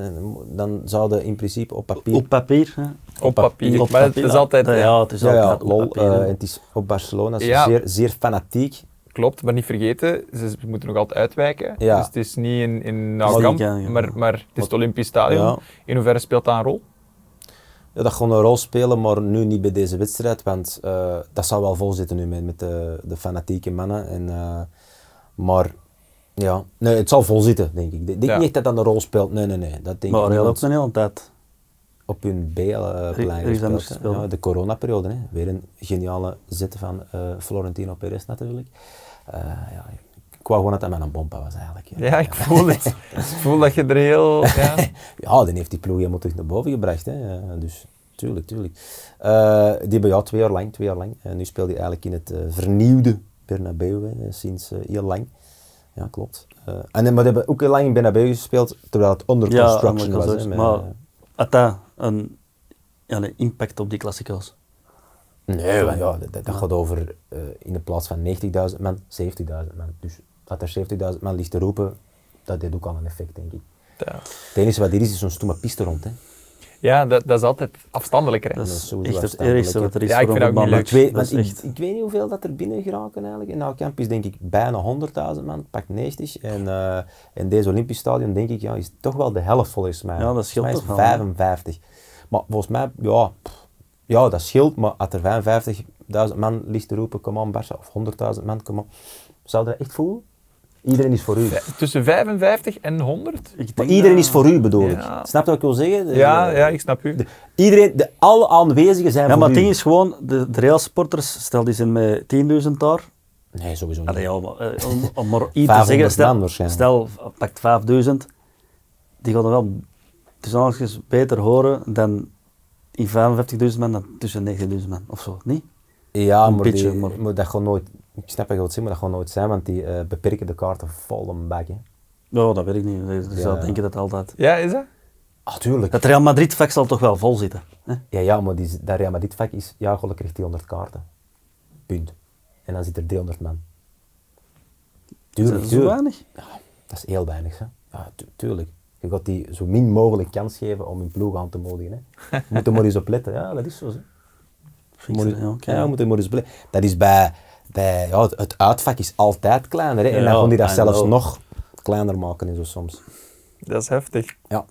Speaker 2: dan zouden in principe op papier...
Speaker 3: Op papier, hè?
Speaker 1: Op papier.
Speaker 3: Op
Speaker 1: Maar het is
Speaker 3: papier.
Speaker 1: altijd...
Speaker 3: Ja,
Speaker 1: ja,
Speaker 3: het is
Speaker 2: ja,
Speaker 3: altijd
Speaker 2: ja,
Speaker 3: op
Speaker 2: lol,
Speaker 3: papier,
Speaker 2: eh,
Speaker 3: hè.
Speaker 2: en het is op Barcelona, ze
Speaker 1: Ja.
Speaker 2: zijn zeer, zeer fanatiek.
Speaker 1: Klopt, maar niet vergeten, ze moeten nog altijd uitwijken.
Speaker 2: Ja.
Speaker 1: Dus het is niet in, in
Speaker 3: is
Speaker 1: Nou Camp,
Speaker 3: niet Kenia.
Speaker 1: maar, maar het is het Olympisch Stadion.
Speaker 2: Ja.
Speaker 1: In hoeverre speelt dat een rol?
Speaker 2: Ja, dat gaat een rol spelen, maar nu niet bij deze wedstrijd, want eh, dat zou wel vol zitten nu met, met de, de fanatieke mannen. En, eh, maar ja, nee, het zal vol zitten, denk ik. Ik denk
Speaker 1: Ja.
Speaker 2: niet dat dat een rol speelt, nee, nee, nee. Dat denk
Speaker 3: Maar
Speaker 2: ik
Speaker 3: Real
Speaker 2: niet,
Speaker 3: ook een hele tijd.
Speaker 2: op hun
Speaker 3: Er- er
Speaker 2: B-plein
Speaker 3: is anders
Speaker 2: gespeeld. hè.
Speaker 3: gespeeld.
Speaker 2: Ja, de coronaperiode, hè. weer een geniale zet van eh, Florentino Perez natuurlijk. Eh, ja, ik wou gewoon dat hij met een bompa was eigenlijk. ja.
Speaker 1: Ja, ik voel het. ik voel dat je er heel... Ja.
Speaker 2: Ja, dan heeft die ploeg helemaal terug naar boven gebracht. Hè. Ja, Dus tuurlijk, tuurlijk. Eh, die hebben ja, twee jaar lang, twee jaar lang. En nu speelt hij eigenlijk in het eh, vernieuwde Bernabeu hè, eh, sinds eh, heel lang. Ja, klopt. Eh, en, eh, maar die hebben ook heel lang in Bernabeu gespeeld, terwijl het under
Speaker 3: Ja,
Speaker 2: construction was.
Speaker 3: anders,
Speaker 2: hè, met- eh,
Speaker 3: maar had dat een ja, nee, impact op die klassiekers?
Speaker 2: eh, nee, maar ja, dat, dat gaat over eh, in de plaats van 90.000 man, 70.000 man. Dus dat er 70.000 man ligt te roepen, dat deed ook al een effect, denk ik.
Speaker 1: Ja.
Speaker 2: Het enige wat hier is, is zo'n stomme piste rond. Hè.
Speaker 1: Ja, dat, dat is altijd afstandelijker. hè.
Speaker 3: Dat
Speaker 2: dat is
Speaker 3: is
Speaker 2: sowieso
Speaker 3: echt het
Speaker 2: afstandelijk,
Speaker 3: ergste
Speaker 2: hè.
Speaker 3: wat er is
Speaker 1: Ja, ik
Speaker 3: voor
Speaker 1: vind dat ook
Speaker 3: een
Speaker 1: niet leuk.
Speaker 2: Maar
Speaker 3: man.
Speaker 2: ik, weet,
Speaker 3: Dat
Speaker 2: want
Speaker 3: is
Speaker 2: ik,
Speaker 3: echt...
Speaker 2: ik weet niet hoeveel dat er binnen geraken eigenlijk. In Alcamp is denk ik bijna 100.000 man, pak 90. En eh, in deze Olympisch stadion denk ik, ja, is toch wel de helft volgens mij.
Speaker 3: Ja, dat scheelt
Speaker 2: Volgens
Speaker 3: toch
Speaker 2: mij
Speaker 3: wel,
Speaker 2: is
Speaker 3: hè?
Speaker 2: 55. Maar volgens mij, ja, pff, ja, dat scheelt. Maar als er 55.000 man ligt te roepen, kom on Barça, of 100.000 man, kom on. Zou je dat echt voelen? Iedereen is voor u.
Speaker 1: Ja, Tussen 55 en 100?
Speaker 3: Ik
Speaker 2: Maar
Speaker 3: denk
Speaker 2: iedereen
Speaker 3: dat-
Speaker 2: is voor u bedoel ik.
Speaker 1: Ja.
Speaker 2: Snap je wat ik wil zeggen? De-
Speaker 1: Ja, ja, ik snap u.
Speaker 2: de- iedereen, de, alle aanwezigen zijn
Speaker 3: Ja,
Speaker 2: voor
Speaker 3: maar
Speaker 2: u.
Speaker 3: het ding is gewoon, de, de railsporters, stel die zijn met 10.000 daar.
Speaker 2: Nee, sowieso niet.
Speaker 3: Allee, ja, maar, eh, om, om maar iets te
Speaker 2: 500
Speaker 3: zeggen,
Speaker 2: man
Speaker 3: stel,
Speaker 2: waarschijnlijk.
Speaker 3: stel pakt 5.000, die gaan er wel tussen aanhalingstekens beter horen dan in 55.000 man dan tussen 9.000 man of zo, niet?
Speaker 2: Ja,
Speaker 3: Een
Speaker 2: maar,
Speaker 3: beetje,
Speaker 2: die-
Speaker 3: maar-
Speaker 2: maar dat gaat nooit... Ik snap wat je wilt zeggen, maar dat gaat nooit zijn, want die eh, beperken de kaarten vol een bak, hè.
Speaker 3: Nou, dat weet ik niet. Ik
Speaker 2: Ja.
Speaker 3: zou denken dat altijd.
Speaker 1: Ja, is dat?
Speaker 2: Ah, tuurlijk.
Speaker 3: Het Real Madrid-vak zal toch wel vol zitten. Hè?
Speaker 2: Ja, ja, maar die, dat Real Madrid vak is... Ja, God, krijgt 300 kaarten. Punt. En dan zit er 300 man. Tuurlijk,
Speaker 3: Dat is
Speaker 2: tuurlijk.
Speaker 3: weinig.
Speaker 2: Dat is heel weinig, hè. Ja, tu- tuurlijk. Je gaat die zo min mogelijk kans geven om hun ploeg aan te modigen, hè. Je moet er maar eens op letten. Ja, dat is zo, hè.
Speaker 3: Fix,
Speaker 2: Moet-
Speaker 3: ja, oké.
Speaker 2: ja, moet je maar eens bele- Dat is bij, bij ja, het- het uitvak is altijd kleiner. Hè? en
Speaker 3: Ja,
Speaker 2: dan kon hij dat
Speaker 3: I
Speaker 2: zelfs
Speaker 3: know.
Speaker 2: nog kleiner maken en zo soms.
Speaker 1: Dat is heftig.
Speaker 2: Ja.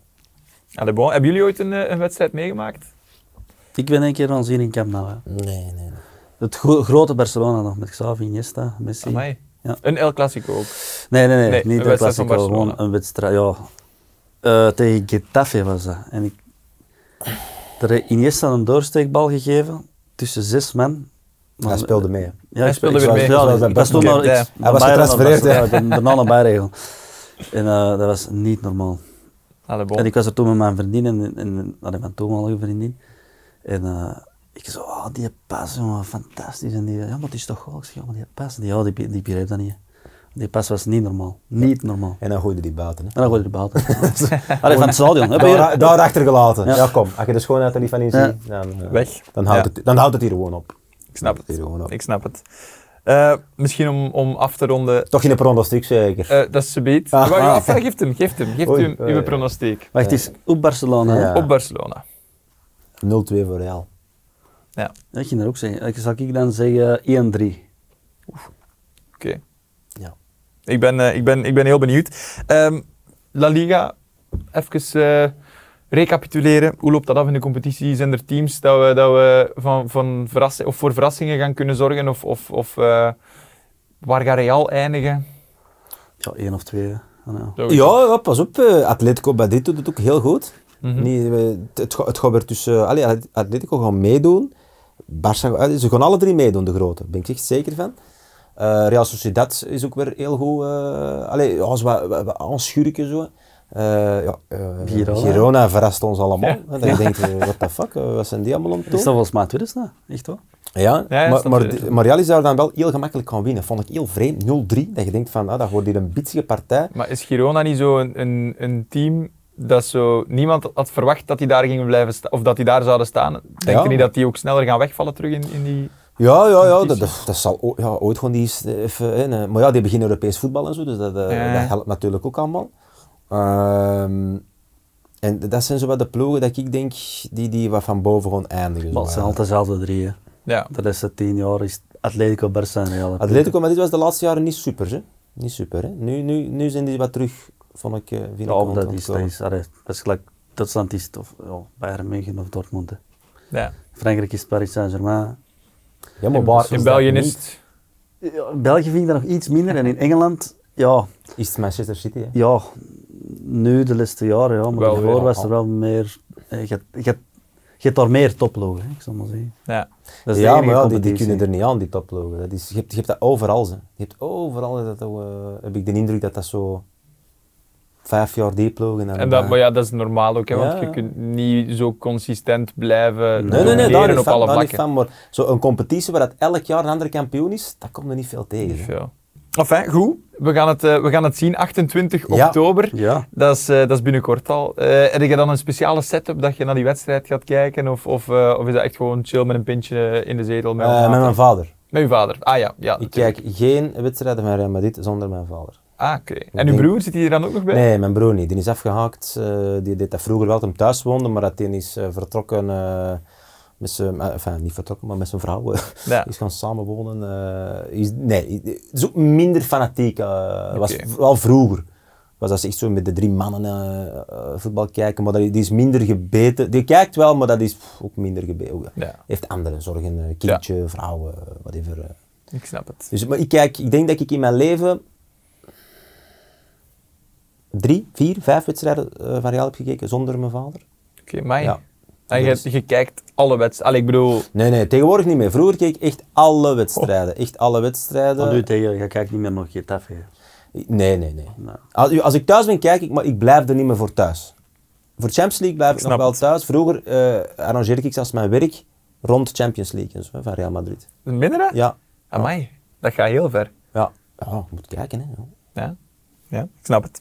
Speaker 1: Allee, bon. Hebben jullie ooit een, eh, een wedstrijd meegemaakt?
Speaker 3: Ik ben een keer aan zien in Camp Nou. hè.
Speaker 2: Nee, nee, nee.
Speaker 3: Het gro- grote Barcelona nog, met Xavi, Iniesta, Messi.
Speaker 1: Amai.
Speaker 3: Ja.
Speaker 1: Een El Clasico ook.
Speaker 3: Nee, nee, nee,
Speaker 1: Nee, een
Speaker 3: niet de
Speaker 1: wedstrijd van
Speaker 3: Classico,
Speaker 1: Barcelona.
Speaker 3: gewoon een wedstrijd. Ja. Eh, tegen Getafe was dat. En ik, er heeft Iniesta een doorsteekbal gegeven tussen zes man.
Speaker 2: Hij speelde mee. hè.
Speaker 3: Ja,
Speaker 1: Hij
Speaker 3: ik
Speaker 1: speelde weer
Speaker 3: ik
Speaker 1: mee.
Speaker 3: Ja,
Speaker 1: Zoals
Speaker 3: ik
Speaker 1: bij
Speaker 3: was toen
Speaker 1: Bayern.
Speaker 3: nog-
Speaker 1: Ja.
Speaker 3: ik-
Speaker 1: Hij
Speaker 2: was
Speaker 3: Bayern
Speaker 2: getransfereerd,
Speaker 3: was-
Speaker 2: hè.
Speaker 3: ja, ik ben Daarna een bijregel. En eh, dat was niet normaal.
Speaker 1: Allee, bon.
Speaker 3: En ik was er toen met mijn vriendin, en, en, allee, mijn toenmalige vriendin. En eh, ik zo, oh, oh, die pas, jongen, fantastisch. En die, ja, maar het is toch goal? Ik zeg, ja, maar die pas, die, ja, die, be- die begreep dat niet. hè. Die pas was niet normaal. Niet normaal.
Speaker 2: En dan gooide die buiten. Hè.
Speaker 3: En dan gooide de buiten. Allee, van het stadion. Heb je-
Speaker 2: Daar, daar achtergelaten. Nou, Ja.
Speaker 3: Ja.
Speaker 2: kom. Als je de schoonheid er niet van in
Speaker 3: Ja.
Speaker 2: ziet, dan, eh,
Speaker 1: Weg.
Speaker 2: Dan houdt,
Speaker 1: Ja.
Speaker 2: het, dan houdt het hier gewoon op.
Speaker 1: Ik snap
Speaker 2: Hier
Speaker 1: het.
Speaker 2: gewoon op.
Speaker 1: Ik snap het. Eh, misschien om, om af te ronden.
Speaker 2: Toch geen pronostiek zeker.
Speaker 1: Eh, dat is subiet.
Speaker 2: Ah.
Speaker 1: Maar ja, geeft hem, geeft hem. Geeft
Speaker 2: Oei,
Speaker 1: u hem
Speaker 2: oei,
Speaker 1: uw
Speaker 2: ja.
Speaker 1: pronostiek.
Speaker 3: Wacht eens, op Barcelona.
Speaker 2: Ja.
Speaker 3: hè?
Speaker 1: Op Barcelona.
Speaker 2: 0-2 voor Real.
Speaker 1: Ja,
Speaker 3: Dat ging er ook zeggen. Ik- Zal ik dan zeggen 1-3?
Speaker 1: oké.
Speaker 2: Ja.
Speaker 1: Ik, ben, eh, ik, ben, ik ben heel benieuwd. Ehm, La Liga, even eh, recapituleren. Hoe loopt dat af in de competitie? Zijn er teams dat we, dat we van, van verrassing, of voor verrassingen gaan kunnen zorgen? Of, of, of eh, waar gaat Real eindigen?
Speaker 3: Ja, 1 of 2. hè. Ah, ja.
Speaker 1: Zo.
Speaker 2: Ja, ja, pas op. eh, Atletico Badit doet het ook heel goed.
Speaker 1: Mhm.
Speaker 2: Nee, eh, het, het, ga- het gaat weer tussen... Allee, At- Atletico gaan meedoen. Barça, allee, ze gaan alle drie meedoen, de grote. Daar ben ik echt zeker van. Eh, Real Sociedad is ook weer heel goed. eh allee, ja, ze wa- wa- wa- aanschurken zo. Eh, ja, eh,
Speaker 3: Girona.
Speaker 2: Girona verrast ons allemaal. hè. Dan denk je, what the fuck, eh, wat zijn die allemaal om te
Speaker 3: Is dat
Speaker 2: doen?
Speaker 3: volgens mij tweede staan? Echt hoor?
Speaker 2: Ja,
Speaker 1: Ja, ja,
Speaker 2: maar,
Speaker 1: staat
Speaker 2: maar,
Speaker 1: er.
Speaker 2: die- maar Real is daar dan wel heel gemakkelijk gaan winnen. Vond ik heel vreemd, 0-3. Dat je denkt van, ah, dat wordt hier een bietsige partij.
Speaker 1: Maar is Girona niet zo een, een, een team dat zo niemand had verwacht dat die daar gingen blijven staan of dat die daar zouden staan? Denk
Speaker 2: Ja.
Speaker 1: je niet dat die ook sneller gaan wegvallen terug in, in die?
Speaker 2: Ja, ja, ja dat,
Speaker 1: Competitie.
Speaker 2: dat, dat zal ooit, ja, ooit gewoon die eens even in. hè. Maar ja, die beginnen Europees voetbal en zo, dus dat, eh,
Speaker 1: Ja.
Speaker 2: dat helpt natuurlijk ook allemaal. Ehm, en dat zijn zo wat de ploegen dat ik denk die, die wat van boven gewoon eindigen. zo,
Speaker 3: Maar het zijn
Speaker 2: hè.
Speaker 3: altijd dezelfde drie. hè.
Speaker 1: Ja.
Speaker 3: De rest van tien jaar is Atletico, Barça en Real.
Speaker 2: Atletico Madrid was de laatste jaren niet super. Hè? Niet super. Hè? Nu, nu, nu zijn die wat terug, vond ik. eh, vind ik
Speaker 3: Ja,
Speaker 2: wel
Speaker 3: dat is, dat
Speaker 2: ontkomen.
Speaker 3: is, allee, dat is gelijk Duitsland is het, of ja, Bayern München of Dortmund. hè.
Speaker 1: ja.
Speaker 3: Frankrijk is Paris Saint-Germain.
Speaker 2: Ja, maar waar
Speaker 1: in
Speaker 2: dat
Speaker 1: België
Speaker 2: niet?
Speaker 1: is het.
Speaker 3: Ja, in België vind ik dat nog iets minder en in Engeland, ja,
Speaker 2: Is het Manchester City? Hè?
Speaker 3: ja nu de laatste jaren, ja, maar
Speaker 1: Wel
Speaker 3: daarvoor
Speaker 1: weer,
Speaker 3: was er wel meer, eh, je hebt- je hebt- je hebt daar meer toplogen, hè, ik zal maar zeggen.
Speaker 1: Ja.
Speaker 3: Dat is de
Speaker 2: ja,
Speaker 3: enige
Speaker 2: maar ja, die, die
Speaker 3: competitie.
Speaker 2: kunnen er niet aan, die toplogen. Dat is, je, hebt, je hebt dat overal. Ze. Je hebt overal, dat, dat, eh, heb ik de indruk dat dat zo vijf jaar die ploegen. en dan-
Speaker 1: En dat, maar ja, dat is normaal ook, hè, want
Speaker 2: Ja.
Speaker 1: je kunt niet zo consistent blijven
Speaker 2: Nee, nee, nee, daar
Speaker 1: domineren
Speaker 2: niet
Speaker 1: op
Speaker 2: van,
Speaker 1: alle
Speaker 2: daar niet
Speaker 1: vlakken.
Speaker 2: van. Maar zo'n competitie waar dat elk jaar een andere kampioen is, dat komt er niet veel tegen.
Speaker 1: Niet
Speaker 2: hè.
Speaker 1: veel. Enfin, goed. We gaan het, eh, we gaan het zien. 28
Speaker 2: Ja.
Speaker 1: oktober.
Speaker 3: Ja.
Speaker 1: Dat is, eh, dat is binnenkort al. Eh heb je dan een speciale setup dat je naar die wedstrijd gaat kijken? Of, of, eh, of is dat echt gewoon chill met een pintje in de zetel? Met,
Speaker 2: Eh,
Speaker 1: elkaar?
Speaker 2: met mijn vader.
Speaker 1: Met uw vader? Ah ja. ja
Speaker 2: Ik
Speaker 1: natuurlijk.
Speaker 2: kijk geen wedstrijden van Real Madrid zonder mijn vader.
Speaker 1: Ah, oké. En uw
Speaker 2: denk-
Speaker 1: broer, zit hij er dan ook nog bij?
Speaker 2: eh, Nee, mijn broer niet. Die is afgehaakt. eh, die deed dat vroeger wel toen hij thuis woonde, maar dat die is eh, vertrokken eh, met zijn... eh, enfin, niet vertrokken, maar met zijn vrouw.
Speaker 1: Ja.
Speaker 2: is gaan samenwonen. eh, is, nee, het is ook minder fanatiek. eh was
Speaker 1: Oké.
Speaker 2: v- wel vroeger. Was dat ze echt zo met de drie mannen eh, eh, voetbal kijken, maar dat, die is minder gebeten. Die kijkt wel, maar dat is pff, ook minder gebeten.
Speaker 1: Ja.
Speaker 2: Heeft andere zorgen, eh, kindje, vrouwen, eh, whatever. eh.
Speaker 1: Ik snap het.
Speaker 2: Dus, maar ik, kijk, ik denk dat ik in mijn leven drie, vier, vijf wedstrijden eh, van Real heb gekeken zonder mijn vader.
Speaker 1: Oké, mij.
Speaker 2: Ja.
Speaker 1: En
Speaker 2: Dus-
Speaker 1: je, je kijkt alle wedstrijden. Allee, ik bedoel,
Speaker 2: Nee, nee, tegenwoordig niet meer. Vroeger keek ik echt alle wedstrijden. Echt alle wedstrijden.
Speaker 3: Maar nu tegen, je kijkt niet meer naar Getafe. hè.
Speaker 2: Nee, nee, nee.
Speaker 3: Nee.
Speaker 2: Als, als ik thuis ben, kijk ik, maar ik blijf er niet meer voor thuis. Voor Champions League blijf ik, nog
Speaker 1: snap
Speaker 2: wel
Speaker 1: het.
Speaker 2: thuis. Vroeger eh arrangeerde ik zelfs mijn werk rond Champions League en zo, hè, van Real Madrid.
Speaker 1: een mindere?
Speaker 2: Ja,
Speaker 1: Amai, dat gaat heel ver.
Speaker 2: ja. Ja, je moet kijken, hè. Ja.
Speaker 1: Ja. ja, ik snap het.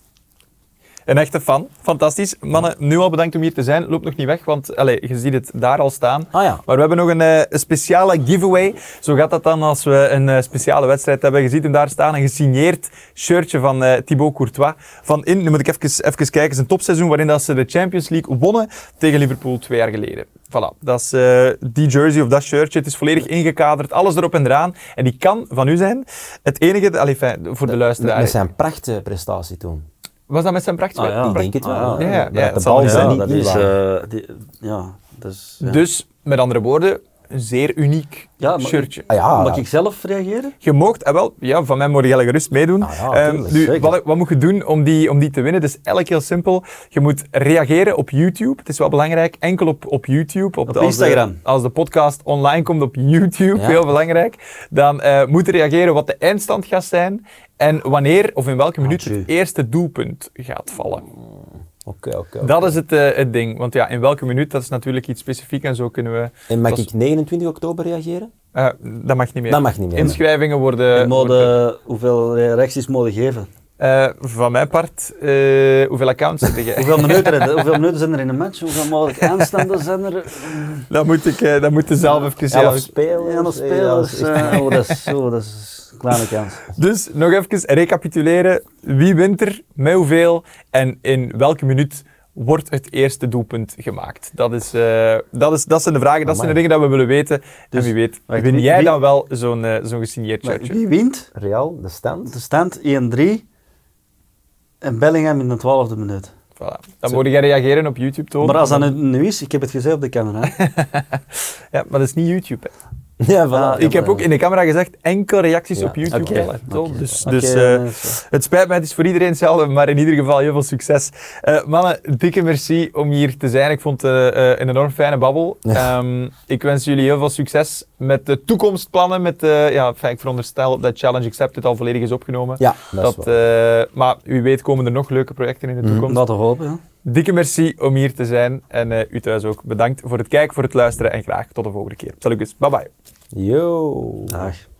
Speaker 1: Een echte fan. Fantastisch. Mannen, nu al bedankt om hier te zijn. Loop nog niet weg, want allez, je ziet het daar al staan.
Speaker 2: Ah ja.
Speaker 1: Maar we hebben nog een eh, speciale giveaway. Zo gaat dat dan als we een eh, speciale wedstrijd hebben. Je ziet hem daar staan, een gesigneerd shirtje van eh Thibaut Courtois. Van in, nu moet ik even, even kijken, zijn topseizoen waarin dat ze de Champions League wonnen tegen Liverpool twee jaar geleden. Voilà, dat is eh, die jersey of dat shirtje. Het is volledig ingekaderd, alles erop en eraan. En die kan van u zijn. Het enige, allee, fijn, voor de
Speaker 2: Met,
Speaker 1: luisteraar.
Speaker 2: met zijn prachtige prestatie toen.
Speaker 1: Was dat met zijn prachtig?
Speaker 3: Ah, ja.
Speaker 2: Ik denk het wel.
Speaker 3: Ah, ja.
Speaker 2: hè.
Speaker 1: Ja, ja,
Speaker 2: Maar
Speaker 1: ja,
Speaker 2: dat
Speaker 1: het
Speaker 2: de
Speaker 1: zal
Speaker 2: bal
Speaker 1: wel.
Speaker 2: zijn
Speaker 3: Ja,
Speaker 2: niet
Speaker 3: dat
Speaker 2: in
Speaker 3: is,
Speaker 2: waren.
Speaker 3: eh, die- ja, dat is... Ah, ja.
Speaker 1: Dus, met andere woorden, een zeer uniek
Speaker 3: Ja, maar-
Speaker 1: shirtje.
Speaker 2: Ah, ja,
Speaker 3: Mag
Speaker 2: ja.
Speaker 3: ik zelf reageren?
Speaker 1: Je moogt, eh, wel, ja, van mij moet je gerust meedoen.
Speaker 2: Ah, ja,
Speaker 1: Ehm,
Speaker 2: tuurlijk,
Speaker 1: nu,
Speaker 2: zeker.
Speaker 1: wat, wat moet je doen om die, om die te winnen? Het is elk heel simpel. Je moet reageren op YouTube. Het is wel belangrijk. Enkel op, op YouTube. Op, de- als de-
Speaker 3: Instagram.
Speaker 1: als de podcast online komt op YouTube,
Speaker 2: Ja.
Speaker 1: heel belangrijk. Dan eh moet je reageren wat de eindstand gaat zijn. En wanneer of in welke minuut
Speaker 3: tjie.
Speaker 1: het eerste doelpunt gaat vallen.
Speaker 2: Oké, oké. oké.
Speaker 1: Dat is het, eh, het ding. Want ja, in welke minuut, dat is natuurlijk iets specifiek en zo kunnen we...
Speaker 2: En mag
Speaker 1: dat is-
Speaker 2: ik 29 oktober reageren?
Speaker 1: Eh, dat mag niet meer.
Speaker 2: Dat mag niet meer.
Speaker 1: Inschrijvingen worden...
Speaker 3: En Eh, mode,
Speaker 1: worden-
Speaker 3: hoeveel reacties mogen geven?
Speaker 1: Eh, van mijn part, eh, hoeveel accounts heb jij?
Speaker 3: Hoeveel minuten, hoeveel minuten zijn er in een match? Hoeveel mogelijk aanstanden zijn er?
Speaker 1: dat moet ik eh, dat moet je zelf even
Speaker 2: Elf
Speaker 1: zelf-
Speaker 2: spelers.
Speaker 3: Ja, nog
Speaker 2: eh, dat is
Speaker 3: spelers.
Speaker 2: echt-
Speaker 3: eh, oh, dat is, oh, dat is een kleine kans.
Speaker 1: Dus nog even recapituleren. Wie wint er, met hoeveel en in welke minuut wordt het eerste doelpunt gemaakt? Dat, is, eh, dat, is, dat zijn de vragen, dat zijn de
Speaker 2: Amai.
Speaker 1: dingen dat we willen weten. en
Speaker 3: Dus,
Speaker 1: wie weet,
Speaker 3: wacht,
Speaker 1: win
Speaker 3: wie-
Speaker 1: jij
Speaker 3: wie-
Speaker 1: dan wel zo'n eh, zo'n gesigneerd
Speaker 3: Maar
Speaker 1: shirtje?
Speaker 3: wie wint?
Speaker 2: Real, de stand.
Speaker 3: De stand 1-3 en Bellingham in de 12e minuut.
Speaker 1: Voilà. Dan moet jij reageren op YouTube, Toon.
Speaker 3: Maar als dat nu- nu is, ik heb het gezegd op de camera. hè.
Speaker 1: Ja, maar dat is niet YouTube. hè.
Speaker 2: Ja, voilà.
Speaker 3: Ah,
Speaker 1: ik heb ook in de camera gezegd, enkel reacties
Speaker 2: Ja,
Speaker 1: op YouTube.
Speaker 2: oké.
Speaker 1: willen, Toon.
Speaker 3: Oké.
Speaker 1: Dus,
Speaker 3: Oké,
Speaker 1: dus
Speaker 3: eh,
Speaker 1: eh, Het spijt mij, het is voor iedereen hetzelfde, maar in ieder geval heel veel succes. Eh, mannen, dikke merci om hier te zijn. Ik vond het eh, eh, een enorm fijne babbel. Ehm, ik wens jullie heel veel succes met de toekomstplannen. Met, eh, ja, enfin, ik veronderstel dat Challenge Accepted al volledig is opgenomen.
Speaker 2: Ja, dat, is
Speaker 1: Dat,
Speaker 2: waar. Mhm.
Speaker 1: eh, maar wie weet komen er nog leuke projecten in de toekomst.
Speaker 3: om dat te hopen. ja.
Speaker 1: Dikke merci om hier te zijn. En eh, u thuis
Speaker 3: eh,
Speaker 1: ook bedankt voor het kijken, voor het luisteren. En graag tot de volgende keer. Salut, bye bye.
Speaker 2: Yo.
Speaker 3: Dag.